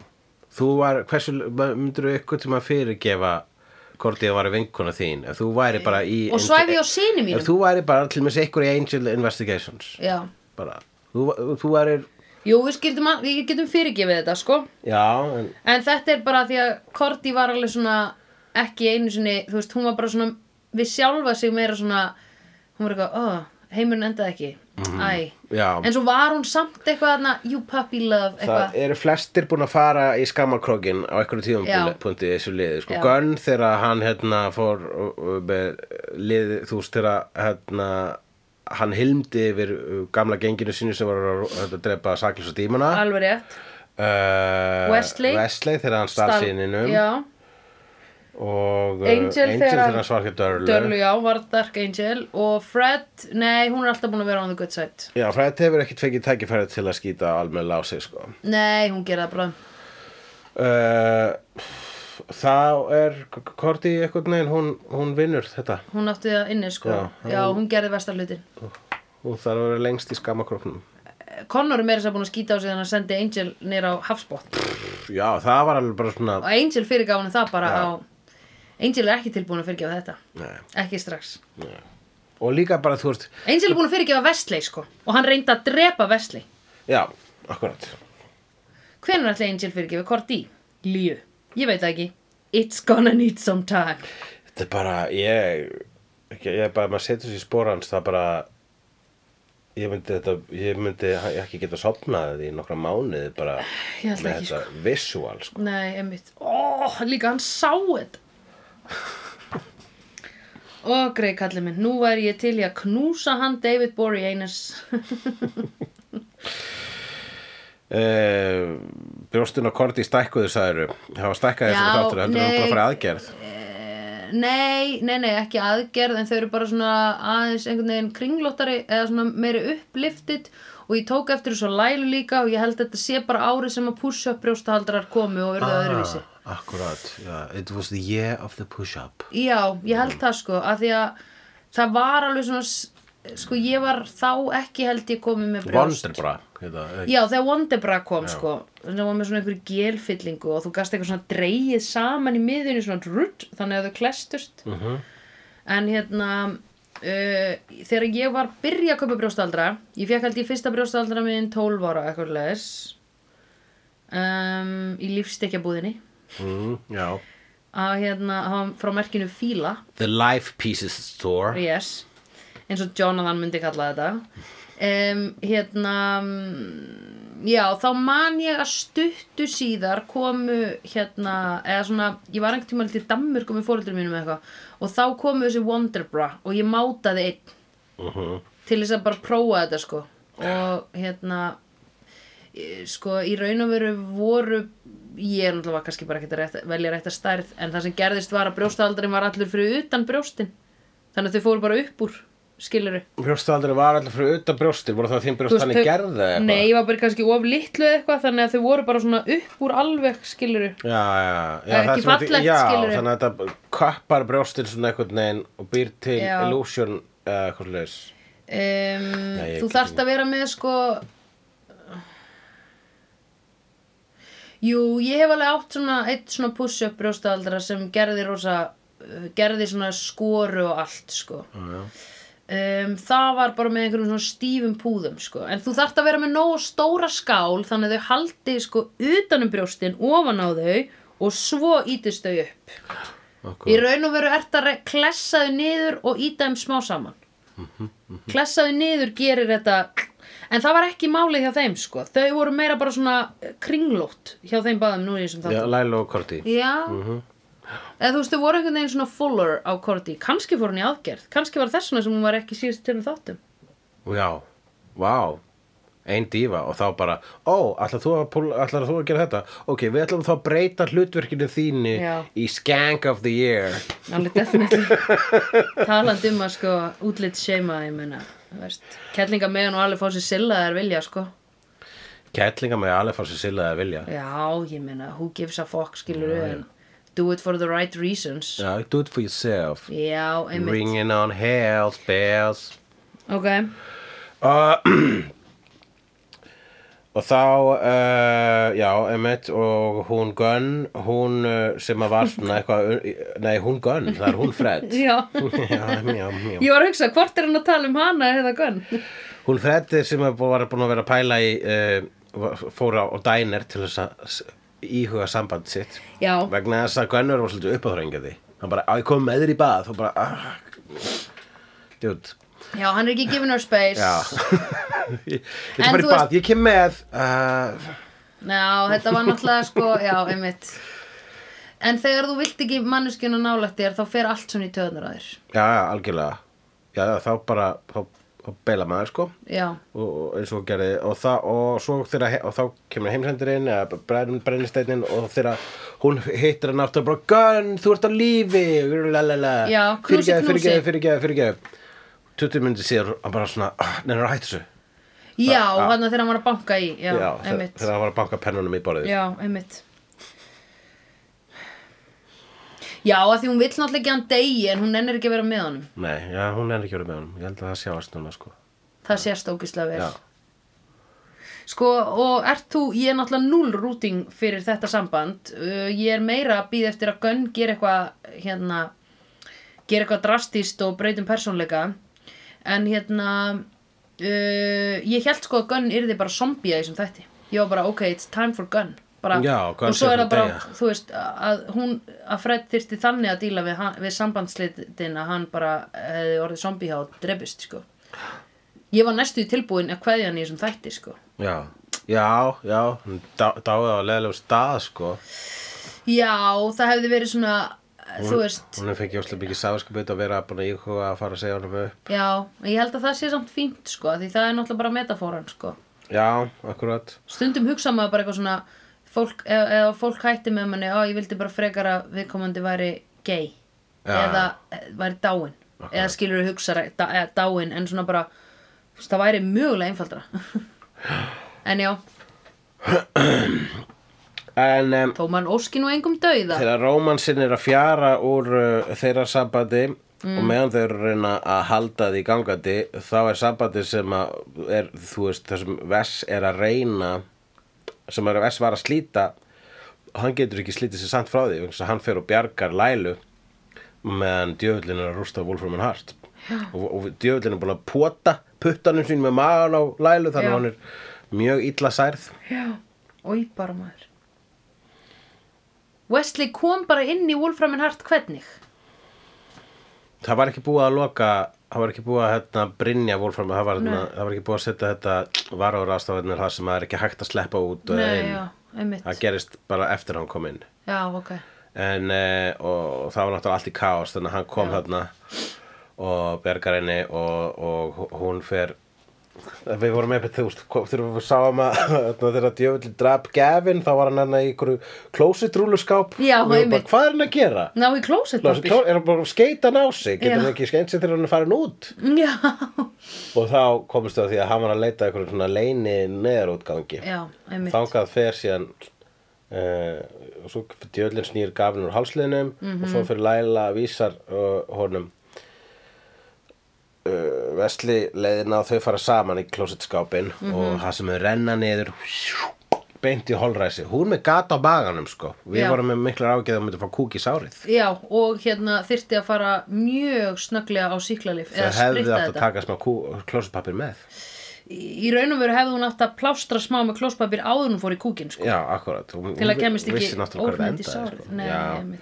A: Þú var, hversu, myndirðu ykkur tíma fyrirgefa hvort ég var vinkona þín ef þú væri bara í
B: og svæfi á sinni mínum
A: Ef þú væri bara til með ykkur í Angel Investigations
B: já,
A: bara, þú, þú væri
B: jú, við, skildum að, við getum fyrirgefið þetta sko
A: Já, en
B: En þetta er bara því að Korti var alveg svona ekki einu sinni, þú veist, hún var bara svona við sjálfa sig meira svona hún var eitthvað, oh, heimurinn endaði ekki æ,
A: Mhm. já.
B: en svo var hún samt eitthvað þarna, you puppy love
A: Það
B: eitthvað,
A: eru flestir búin að fara í skammarkrókin á
B: Já.
A: einhverju tíðumpunkti í þessu liði sko.
B: Já.
A: Gunn þegar hann hérna fór uh, uh, með lið, þú veist þegar hérna, hann hilmdi yfir uh, gamla genginu sínu sem var að hérna, drepa saklis og dímana uh,
B: alveg rétt Wesley.
A: Wesley þegar hann stað síninum
B: já,
A: og uh,
B: Angel þegar hann-
A: þegar hann svarkja Dörlu,
B: Dörlu, já, var Dark Angel og Fred, nei, hún er alltaf búin að vera on the good side
A: Já, Fred hefur ekkert fengið tækifæri til að skýta almennilega á sig sko.
B: nei, hún gera það bara
A: uh, Þá er Korti einhvern veginn, hún, hún vinnur þetta
B: hún átti það inni, sko já,
A: Já,
B: hún gerði vestar hlutin
A: Hún þarf að vera lengst í skammakróknum
B: Connor er meira sér búin að skýta á sig þannig að sendi Angel nýr á hafsbott
A: Já, það var alveg bara svona
B: og Angel fyrirgaf hann það bara
A: Já.
B: á Angel er ekki tilbúin að fyrirgefa þetta
A: Nei.
B: ekki strax
A: Og líka bara, þú veist
B: Angel er búin að fyrirgefa Vestley sko og hann reyndi að drepa Vestley
A: Já, akkurat
B: hvenær ætli Angel fyrirgefa Korti? Líu, ég veit það ekki It's gonna need some time
A: Þetta er bara, ég ekki, Ég er bara, maður setur sér í spór hans Það bara Ég myndi þetta, ég myndi ekki geta sopnað í nokkra mánuði bara
B: Ég ætla
A: með
B: ekki,
A: þetta visual sko.
B: Nei, einmitt Ó, líka hann sá þetta Ó, grei kallið minn Nú væri ég til í að knúsa hann David Boreanaz
A: Uh, brjóstun og korti stækkuðu sagður það var stækkaði þessum
B: Já,
A: þáttur heldur hann
B: nei.
A: bara fyrir aðgerð
B: Nei, nei, nei, ekki aðgerð en þau eru bara svona aðeins einhvern veginn kringlottari eða svona meiri uppliftit og ég tók eftir þessu á lælu líka og ég held að þetta sé bara árið sem að push-up brjóstahaldrar komu og
A: Ah.
B: verðu öðruvísi.
A: akkurat, it was the year of the push-up
B: Já, ég held það sko að því að það var alveg svona s- sko ég var þá ekki held ég komið með brjóst.
A: Wonderbra heita, ekki?
B: Já, þegar Wonderbra kom sko þannig að var með svona einhverju gelfyllingu og þú gast eitthvað svona dreigið saman í miðunni svona drutt, þannig að þau klestust
A: Mhm.
B: en hérna uh, þegar ég var byrja að köpa brjóstaldra ég fekk held ég fyrsta brjóstaldra minn 12 ára eitthvað leðis um, í lífstekjabúðinni
A: mm, já.
B: að hérna hann frá merkinu Fíla
A: the life pieces store
B: yes eins og Jonathan myndi kalla þetta um, hérna mm, já þá man ég að stuttu síðar komu hérna eða svona ég var einhvern tímann til Danmörku með fóreldur mínum eða eitthvað og þá komu þessi Wonderbra og ég mátaði einn
A: uh
B: til þess að bara prófa þetta sko og hérna eh, sko í raun og veru voru ég er náttúrulega var kannski bara ekki að rétt, velja rétt að stærð en það sem gerðist var að brjóstahaldurinn var allur fyrir utan brjóstin þannig að þau fóru bara upp úr skiluru
A: brjóstaldri var alltaf fyrir utan brjóstir voru það þín brjóst þannig gerði eða eitthvað?
B: nei, var bara kannski of litlu eða eitthvað þannig að þau voru bara svona upp úr alveg skiluru
A: já, já, já,
B: Eh,
A: það
B: ekki
A: sem þetta-
B: fallegt,
A: já
B: skilurðu.
A: þannig að þetta kappar brjóstin svona einhvern veginn og býr til
B: Já.
A: illusion eða eitthvað leis
B: um,
A: Nei, ég
B: þú
A: get
B: þarft að vera með sko jú, ég hef alveg átt svona eitt svona push-up brjóstaaldra sem gerði rosa uh, gerði svona skoru og allt sko um, það var bara með einhverjum svona stífum púðum sko. en þú þarft að vera með nógu stóra skál þannig að þau haldi sko utanum brjóstin ofan á þau og svo ítist þau upp í raun og veru ert að re- klessa þau niður og íta þeim smá saman klessa þau niður gerir þetta en það var ekki málið hjá þeim sko þau voru meira bara svona eh, kringlótt hjá þeim báðum nú í þessum
A: já,
B: þáttum
A: Lilo og Korti
B: Já Eða þú veist, þau voru einhvern veginn svona fuller á Korti kannski fór hún í aðgerð, kannski var þess vegna sem hún var ekki síðast til um þáttum
A: Já, vá ein dífa og þá bara ó, ætlar þú að, púl- ætlar þú að gera þetta ok, við ætlum þá að breyta hlutverkinu þínu
B: Já.
A: í Skank of the Year
B: alveg definitely talandi um að sko útlitt seima ég meina, þú veist kellinga meðan og alveg fá sér silla þær vilja sko
A: Kettlinga með alveg fara sér sillaði að vilja
B: já, ég meina, who gives a fuck skilur við en do it for the right reasons
A: yeah, do it for yourself
B: já, einmitt
A: ringing on hell's bells
B: ok,
A: Uh, Og þá, uh, já, emitt, og hún Gunn, hún uh, sem að var svona eitthvað, uh, nei, hún Gunn, það er hún Fred.
B: já
A: já, já, já.
B: ég var að hugsa, hvort er hann að tala um hana eða Gunn
A: Hún Fred sem að bú- var búin að vera að pæla í, uh, fór á, á dænir til þess að s- íhuga samband sitt.
B: já,
A: Vegna þess að Gunnur var svolítið uppáþrængaði. Hann bara, að ég kom með þér í bað, og bara, ah, djútt.
B: já, hann er ekki giving her space
A: Já. ég ég ætla
B: En
A: bara í
B: þú
A: bað, ég kem með. Uh,
B: Já, þetta var náttúrulega sko, já, einmitt En þegar þú vilt ekki manneskjuna nálægt þér þá fer allt svona í töðnur að þér
A: já, já, algjörlega. Já, já, þá bara, þá, þá beila maður, sko.
B: Já,
A: og og eins og hún gerði og, það, og, svo þeirra, he- og þá kemur heimsendurinn eða brenn, brennisteinnin og þeirra hún hittir hann aftur bara Gunn, þú ert á lífi Lalala.
B: Já, knúsi,
A: fyrirgeðu,
B: knúsi.
A: fyrirgeðu, fyrirgeðu, fyrirgeðu 20 myndi síðar hann bara svona, ah, neina hættu þessu
B: já, hann þegar hann var að banka í Já,
A: Já, þe-
B: einmitt
A: þegar hann var að banka pennunum í borðið
B: Já, einmitt Já, að því hún vill náttúrulega ekki að hann degi en hún nennir ekki að vera með honum
A: Nei, já, hún er ekki verið með honum, ég held að það sjáast núna sko.
B: Það sést ógislega vel
A: Já.
B: Sko, og ert þú, ég er náttúrulega null rúting fyrir þetta samband. Uh, ég er meira að býða eftir að Gunn gera eitthvað, hérna, gera eitthvað drastist og breytum persónleika. En hérna, uh, ég held sko að Gunn yrði bara zombie í þessum þætti. Ég var bara, ok, it's time for Gunn. Bara,
A: Já, Gunn
B: og svo
A: sé
B: er
A: að
B: það bara,
A: deyja.
B: þú veist, að hún, að Fred þyrfti þannig að díla við, hann- við sambandslitin að hann bara eh, hefði orðið zombie hjá og drefist, sko. Ég var næstu í tilbúin að kveðja hann í þessum þætti, sko.
A: Já, já, já hún dá, dáið á leðlega stað sko.
B: Já, það hefði verið svona, þú veist,
A: hún er fengið óslega mikið sáskapið að vera búin að íhuga að fara að segja honum upp
B: já, ég held að það sé samt fínt, sko, því það er náttúrulega bara metafóran, sko.
A: Já, akkurat
B: Stundum hugsa maður bara eitthvað svona, fólk, eða, eða fólk hætti með manni, á, ég vildi bara frekar að viðkomandi væri gay,
A: Já.
B: eða eh, væri dáin, eða skilur við hugsa da, eða dáin, en svona bara, þú veist, það væri mögulega einfaldra. en já,
A: En um,
B: þó mann óski nú engum dauða.
A: þegar rómansinn er að fjara úr uh, þeirra sambandi og meðan þau eru að reyna að halda því gangandi þá er sambandi sem að er, þú veist, það sem Vess er að reyna sem er að Vess var að slíta hann getur ekki slítið sér samt frá því vegna þess að hann fer og bjargar Lælu meðan djöfullin er að rústa Wolfram and Hart og, og djöfullin er búin að pota puttanum sín með magan á Lælu
B: Já.
A: þannig að hann er mjög illa særð
B: Já, oi bara maður Wesley kom bara inn í Wolframin Hart hvernig?
A: Það var ekki búið að loka það var ekki búið að hérna, brinja Wolfram það var, hérna, það var ekki búið að setja þetta varóraðstafarnir það sem það er ekki hægt að sleppa út og
B: Nei,
A: inn.
B: já, einmitt
A: það gerist bara eftir að hann kom inn
B: Já, ok
A: en, eh, og, og það var náttúrulega allt í kaos þannig að hann kom þarna og bergar henni og, og hún fer við vorum með þú veist, kom- þegar við sáum að þarna, þegar djöfulli drap Gavin þá var hann hann í einhverju klósitrúluskáp
B: Já,
A: og við vorum
B: einmitt.
A: bara, hvað er hann að gera?
B: Ná í klósett
A: Lás,
B: pappi
A: er hann bara að skeita hann á sig getur
B: Já.
A: hann ekki skeint sig þegar hann er farin út
B: Já,
A: og þá komist við að því að hann var að leita eitthvað svona leini neðarútgangi
B: já, einmitt
A: þangað fer síðan uh, og svo djöllin snýr gafin úr hálsliðnum og
B: Mhm.
A: svo fyrir Læla vísar uh, honum uh, Vesli leiðina og þau fara saman í klósetskápin
B: Mhm.
A: og það sem er renna niður beint í holræsi, hún með gata á maganum sko, við
B: Já.
A: vorum með miklar ágæð að hún myndi fá kúk í sárið
B: Já, og hérna þyrfti að fara mjög snögglega á síklarlif eða
A: það hefði
B: spritta
A: átt að
B: þetta Sko.
A: taka smá klósetpapir með
B: Í í raun og veru hefði hún átt að plástra smá með klóspapir áður en hún fór í kúkinn sko.
A: Já, akkurat hún,
B: til að kemist ekki
A: Vissi náttúrulega hvað
B: óhreinindi
A: þetta endaði
B: sárið.
A: sko.
B: Nei,
A: Já.
B: einmitt.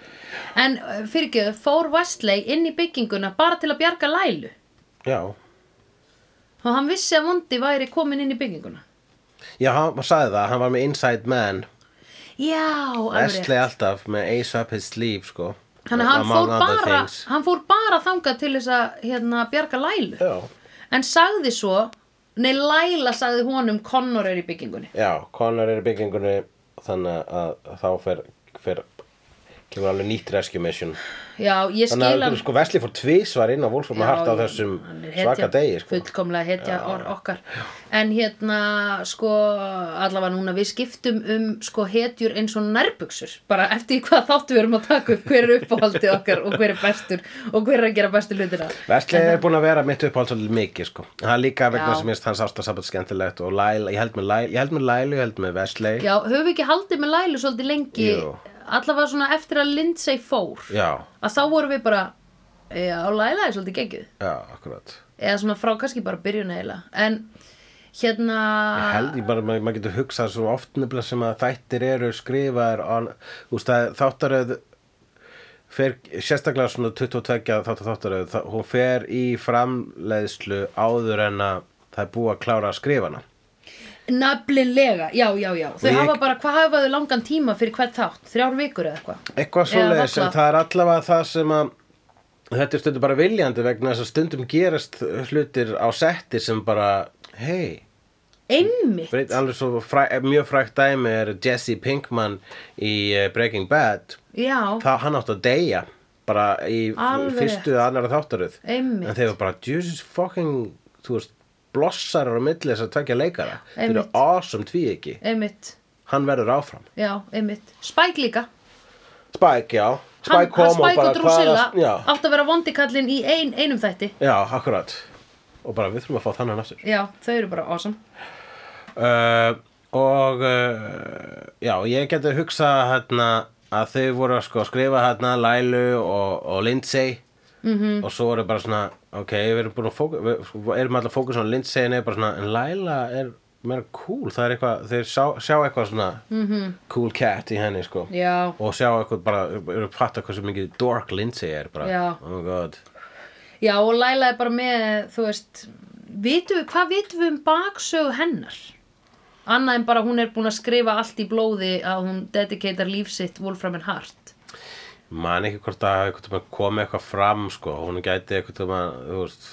B: En fyrirgeðu, fór Wesley inn í bygginguna bara til að bjarga Lælu
A: Já,
B: og hann vissi að vondi væri komin inn í bygginguna
A: já, hann hann sagði það, hann var með Inside Man
B: já, alveg
A: Esli alltaf með Ace Up His Sleeve sko
B: þannig að hann fór,
A: Among other
B: bara,
A: things.
B: hann fór bara þangað til þess að hérna, bjarga lælu
A: Já,
B: en sagði svo Nei, Laila sagði honum Connor er í byggingunni
A: Já, Connor er í byggingunni þannig að þá fer, fer kemur alveg nýtt rescue mission
B: Já, ég skil
A: þannig
B: hann
A: að sko, Vesli fór tvísvar inn á Wolfram að harta á þessum
B: hann er hetja,
A: svaka degi sko.
B: fullkomlega hetja or, okkar en hérna sko allavega núna við skiptum um sko hetjur eins og nærbuksur bara eftir því hvað þáttu við erum að taka upp hver er uppáhaldið okkar og hver er bestur og hver er að gera bestu hlutina
A: Vesli er búin að vera mitt uppáhald svolítið mikið sko. hann líka vegna
B: Já.
A: sem minnst hans ástasabat skemmtilegt og Lail, ég held með Lail, ég held með Lail ég held með Vesli
B: Já, höfum við ekki haldið með Lailu svolítið lengi
A: Jú.
B: allavega svona eftir að Lindsay fór
A: Já,
B: að þá vorum við bara já, Laila er svolítið gengið
A: já, akkurat
B: eða svona frá kannski bara byrjun eiginlega en hérna
A: Ég held ég bara, maður maður getur hugsað svo oft nefnilega sem að þættir eru skrifaðir on, úst, þáttaröð fer, sérstaklega svona 22 þáttar þáttaröð, þá- hún fer í framleiðslu áður en að það er búið að klára að skrifa hana
B: nafnilega, já, já, já þau
A: ég-
B: hafa bara, hvað hafa þau langan tíma fyrir hvert þátt þrjár vikur eða eitthvað
A: eitthvað
B: Eða
A: svoleiðis,
B: varla.
A: en það er allavega það sem að þetta er stundum bara viljandi vegna þess að stundum gerast hlutir á setti sem bara, hei
B: einmitt,
A: Breyt, alveg svo fræ, eh, mjög frækt dæmi er Jesse Pinkman í eh, Breaking Bad
B: já,
A: það hann átti að deyja bara í f-
B: Alveg
A: fyrstu eða annara þáttaröð
B: Einmitt.
A: en þeir eru bara Jesus fucking þú veist blossarar á milli þess að tvekja leikara þeir eru
B: Einmitt.
A: awesome tví ekki
B: einmitt
A: hann verður áfram
B: já, einmitt, Spike líka
A: Spike já
B: hann,
A: Spike kom og
B: Spike og
A: bara
B: Drusilla
A: já,
B: átt að vera vondikallin í ein, einum þætti
A: já akkurat og bara við þurfum að fá þannig aftur
B: já, þau eru bara awesome
A: uh, og uh, já, ég geti hugsað hérna, að þau voru að sko, skrifa hérna Lailu og, og Lindsay
B: Mhm.
A: -hmm. og svo voru bara svona ok, við erum búin að fókus við sko, erum alltaf fókus á Lindsay en er bara svona en Laila er meira cool það er eitthvað, þeir sjá, sjá eitthvað svona -hmm. cool cat í henni sko
B: Mhm. já,
A: og sjá eitthvað bara, eru að fatta hversu mikið dork Lindsay er bara
B: Já.
A: oh my god
B: Já, og Laila er bara með, þú veist, vitum við, hvað vitum við um baksögu hennar? Annað en bara hún er búin að skrifa allt í blóði að hún dedikatar líf sitt Wolfram and Hart.
A: man ekki hvort að hafi einhvern tímann komið eitthvað fram sko, hún gæti einhvern tímann þú veist,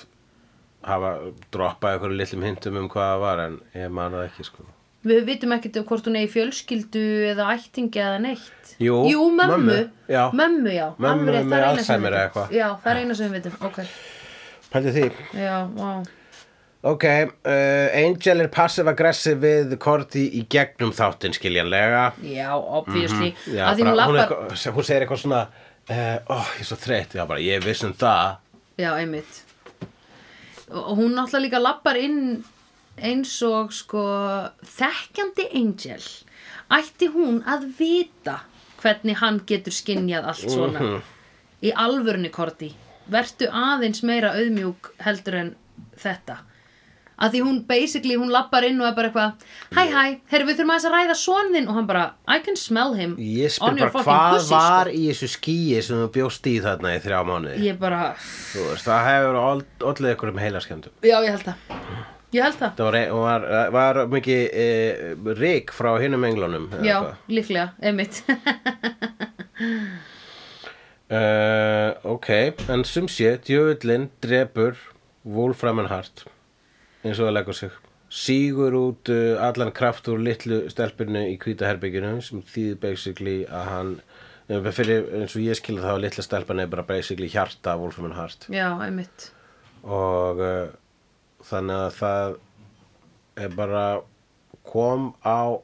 A: hafa droppað einhverjum litlum hintum um hvað það var en ég man það ekki sko
B: Við vitum ekkert um hvort hún er í fjölskyldu eða ættingi eða neitt.
A: Jú,
B: mömmu.
A: mömmu, já.
B: Mömmu, já.
A: Mömmu
B: alveg rétt, það
A: með
B: er eina sem
A: Alzheimer
B: við
A: eða
B: vitum.
A: eitthvað.
B: Já, það er eina sem við vitum, ok.
A: pældi því
B: Já, wow.
A: ok, uh, Angel er passive-aggressive við Korti í gegnum þáttinn skiljanlega
B: Já, obviously. Mm
A: Mhm, Já,
B: að því hún
A: bara, hún, er,
B: lappar...
A: eitthvað- hún segir eitthvað svona uh, ó, ég er svo þreytt, já bara ég viss um það
B: Já, einmitt og og hún náttúrulega líka lappar inn eins og sko þekkjandi Angel ætti hún að vita hvernig hann getur skinjað allt svona
A: Mhm.
B: í alvörni korti vertu aðeins meira auðmjúk heldur en þetta að því hún basically, hún lappar inn og er bara eitthvað hæ hæ, herru við þurfum aðeins að ræða son þinn og hann bara, I can smell him
A: ég
B: on
A: spyr
B: your
A: bara
B: fucking
A: hvað
B: pussy, sko.
A: var í þessu skýi sem þú bjóst í þarna í þrjá mánuði
B: ég bara,
A: Þú veist, það hefur allir ykkur um heilaskjöndum
B: já ég held það ég held það
A: Það var, hún var, var mikið e, rík frá hinum englunum eða
B: Já,
A: eitthvað.
B: líklega, einmitt
A: Eh, ok, en sum sé djöfullin drepur Wolfram and Hart eins og það leggur sig sígur út uh, allan kraft úr litlu stelpinu í kvítaherbygginu sem þýðir basically að hann eh, fyrir, eins og ég skilur þá að litla stelpan er bara basically hjarta Wolfram and Hart
B: Já, einmitt
A: og uh, þannig að það er bara kom á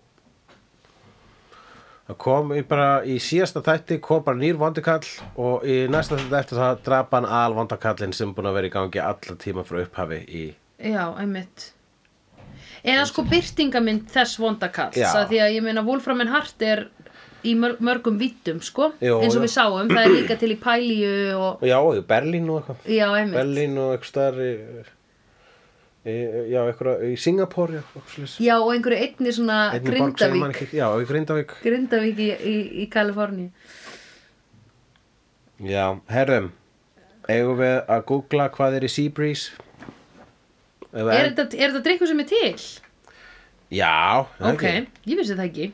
A: það kom í bara í síðasta þætti kom bara nýr vondikall og í næsta þætti eftir það drap hann al vondakallin sem búin að vera í gangi alla tíma frá upphafi í
B: Já, einmitt Eða sko byrtingamynd þess vondakalls
A: Já.
B: að Því að ég meina Wolfram and Hart er í mörg, mörgum vittum, sko
A: Jú,
B: eins og
A: jú.
B: við sáum, það er líka til í pælíu og...
A: já, í Berlín og eitthvað
B: Já, einmitt
A: Berlín og eitthvað starf í, í, já, eitthvað í Singapore já, eitthvað svoleiðis.
B: Já, og einhverju einni svona
A: Einni borg sem ég man
B: Ah, Grindavík
A: ekki- já, í Grindavík
B: Grindavík í, í, í Kaliforníu
A: Já, herrum eigum við að googla hvað er í Seabreeze? Ef
B: Er
A: en-
B: þetta, er þetta drikkur sem er til?
A: Já, það
B: ok, ég vissi það ekki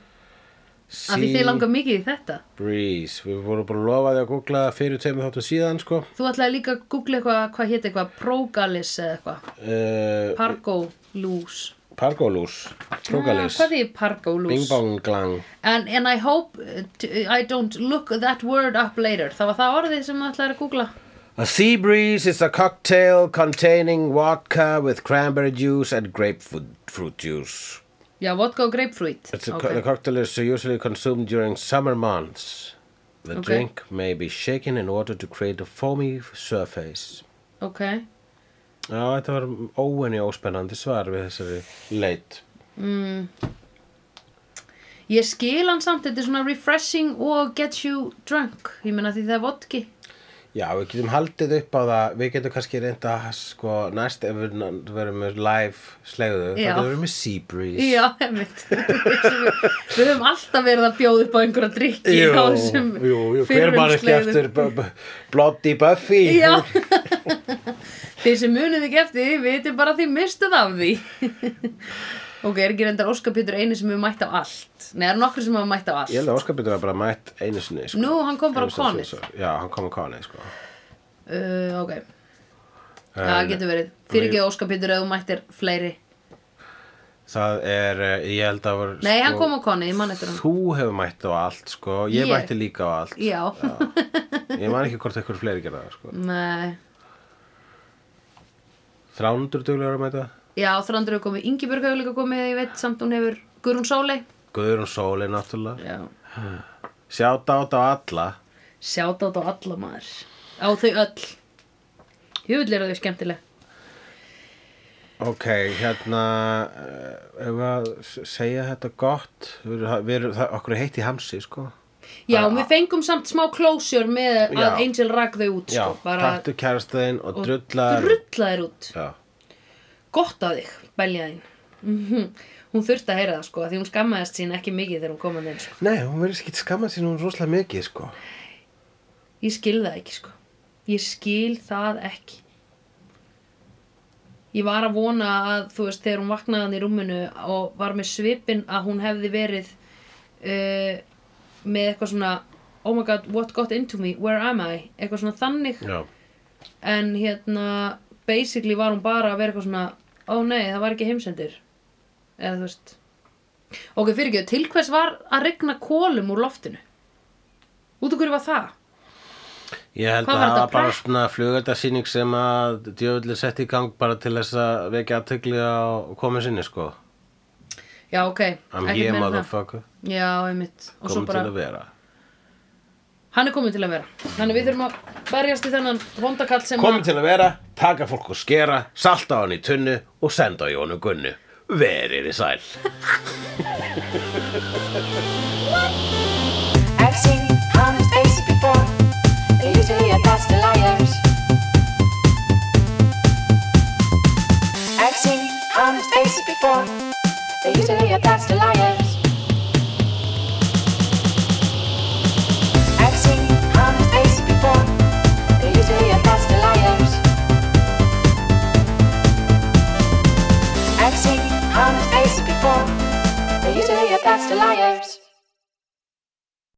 B: af því þið langar mikið í þetta
A: Breeze, við vorum búin að lofa því að googla fyrir tveimur þáttum síðan sko
B: þú ætlaði líka að googla eitthvað, hvað hétt eitthvað Progalis eða eitthvað,
A: uh,
B: Pargolús
A: Pargolús,
B: Ah,
A: Progalis
B: hvað þið er Pargolús?
A: Bing Bong Glang
B: And, and I hope uh, t- I don't look that word up later. Það var það orðið sem maður ætlaði að googla.
A: A sea breeze is a cocktail containing vodka with cranberry juice and grapefruit fruit juice.
B: Já, vodka og grapefruit.
A: It's a,
B: Ok.
A: The cocktail is usually consumed during summer months. The
B: Okay.
A: drink may be shaken in order to create a foamy surface.
B: ok.
A: Já, þetta var óenni óspennandi svar við þessari leit.
B: Ég skil hann samt, þetta er svona refreshing og get you drunk. Ég meina því það er vodki.
A: Já, við getum haldið upp á það, við getum kannski reynda að sko næst ef við ná- verum með live slegðu, þá
B: Já.
A: getum við með Sea Breeze.
B: Já, einmitt. við höfum alltaf verið að bjóða upp á einhverja drikki á þessum
A: jú, jú, hver
B: fyrrum
A: mann ekki
B: slegðum.
A: eftir b- b- Bloody Buffy?
B: Já. Þeir sem munið ekki eftir því, vitið bara að því mistuð af því. ok, er ekki reyndar Óskar Pétur eini sem hefur mætt á allt? Nei, er nokkur sem hefur mætt á allt?
A: Ég held að Óskar Pétur var bara mætt einu sinni, sko.
B: Nú, hann kom bara á
A: Einu sinni,
B: konið.
A: svo- Já, hann kom á konið, sko.
B: Uh, ok, Já,
A: En
B: það getur verið. Fyrir ekki Óskar Pétur eða þú mættir fleiri.
A: Það er, eh, ég held að var,
B: Nei, hann kom á koni, ég man eftir hann.
A: Sko- Þú hefur mætt á allt, sko. Ég,
B: Ég?
A: mætti líka á allt.
B: Já,
A: Ég man ekki hvort eitthvað fleiri gerða það, sko.
B: nei.
A: Þrándur duglegur að mæta.
B: Já, þrándur hefur komið, Ingibjörg hefur líka komið, ég veit, samt hún hefur Guðrún Sóley.
A: Guðrún Sóli, náttúrulega.
B: Já,
A: Sjátt átt á alla.
B: sjáta á alla maður. Á þau öll. Júl eru þau skemmtileg.
A: Ok, hérna, eh, ef að s- segja þetta gott, við, erum- við, erum- það, okkur er heitt í hamsi, sko.
B: Já, við fengum samt smá klósjör með
A: Já.
B: að Angel rak þau út,
A: Já,
B: sko. Bara
A: taktu kærastaðinn og, og drullar.
B: drulla þér út.
A: Já,
B: Gott að þig, belja þín. Mm Hún þurfti að heyra það, sko, af því hún skammaðist sín ekki mikið þegar hún kom að þeim, sko.
A: Nei, hún verður skilt skamma sín hún rosalega mikið, sko.
B: Ég skil það ekki sko Ég skil það ekki Ég var að vona að þú veist þegar hún vaknaði hann í rúminu og var með svipin að hún hefði verið uh, með eitthvað svona Oh my god, what got into me, where am I? Eitthvað svona þannig
A: Já.
B: En hérna, basically var hún bara að vera eitthvað svona Ó nei, það var ekki heimsendir Eða þú veist Ok, fyrir ekki, til hvers var að regna kólum úr loftinu? Út af hverju var það?
A: Ég held
B: Hvað
A: að
B: var
A: það
B: þetta,
A: var bara
B: prak-
A: svona flugöldasýning sem að djöfulli setti í gang bara til þess að vekja aðtökli á komin sinni, sko.
B: Já, ok,
A: I'm
B: ekkert
A: here,
B: meira en það.
A: motherfucker.
B: Já, einmitt Og svo
A: Komum
B: bara,
A: til að vera.
B: hann er komin til að vera Þannig við þurfum að berjast í þennan vondakall sem
A: Komum
B: að
A: til að vera, taka fólk og skera, salta á hann í tunnu og senda á Jónu Gunnu. Verið í sæl.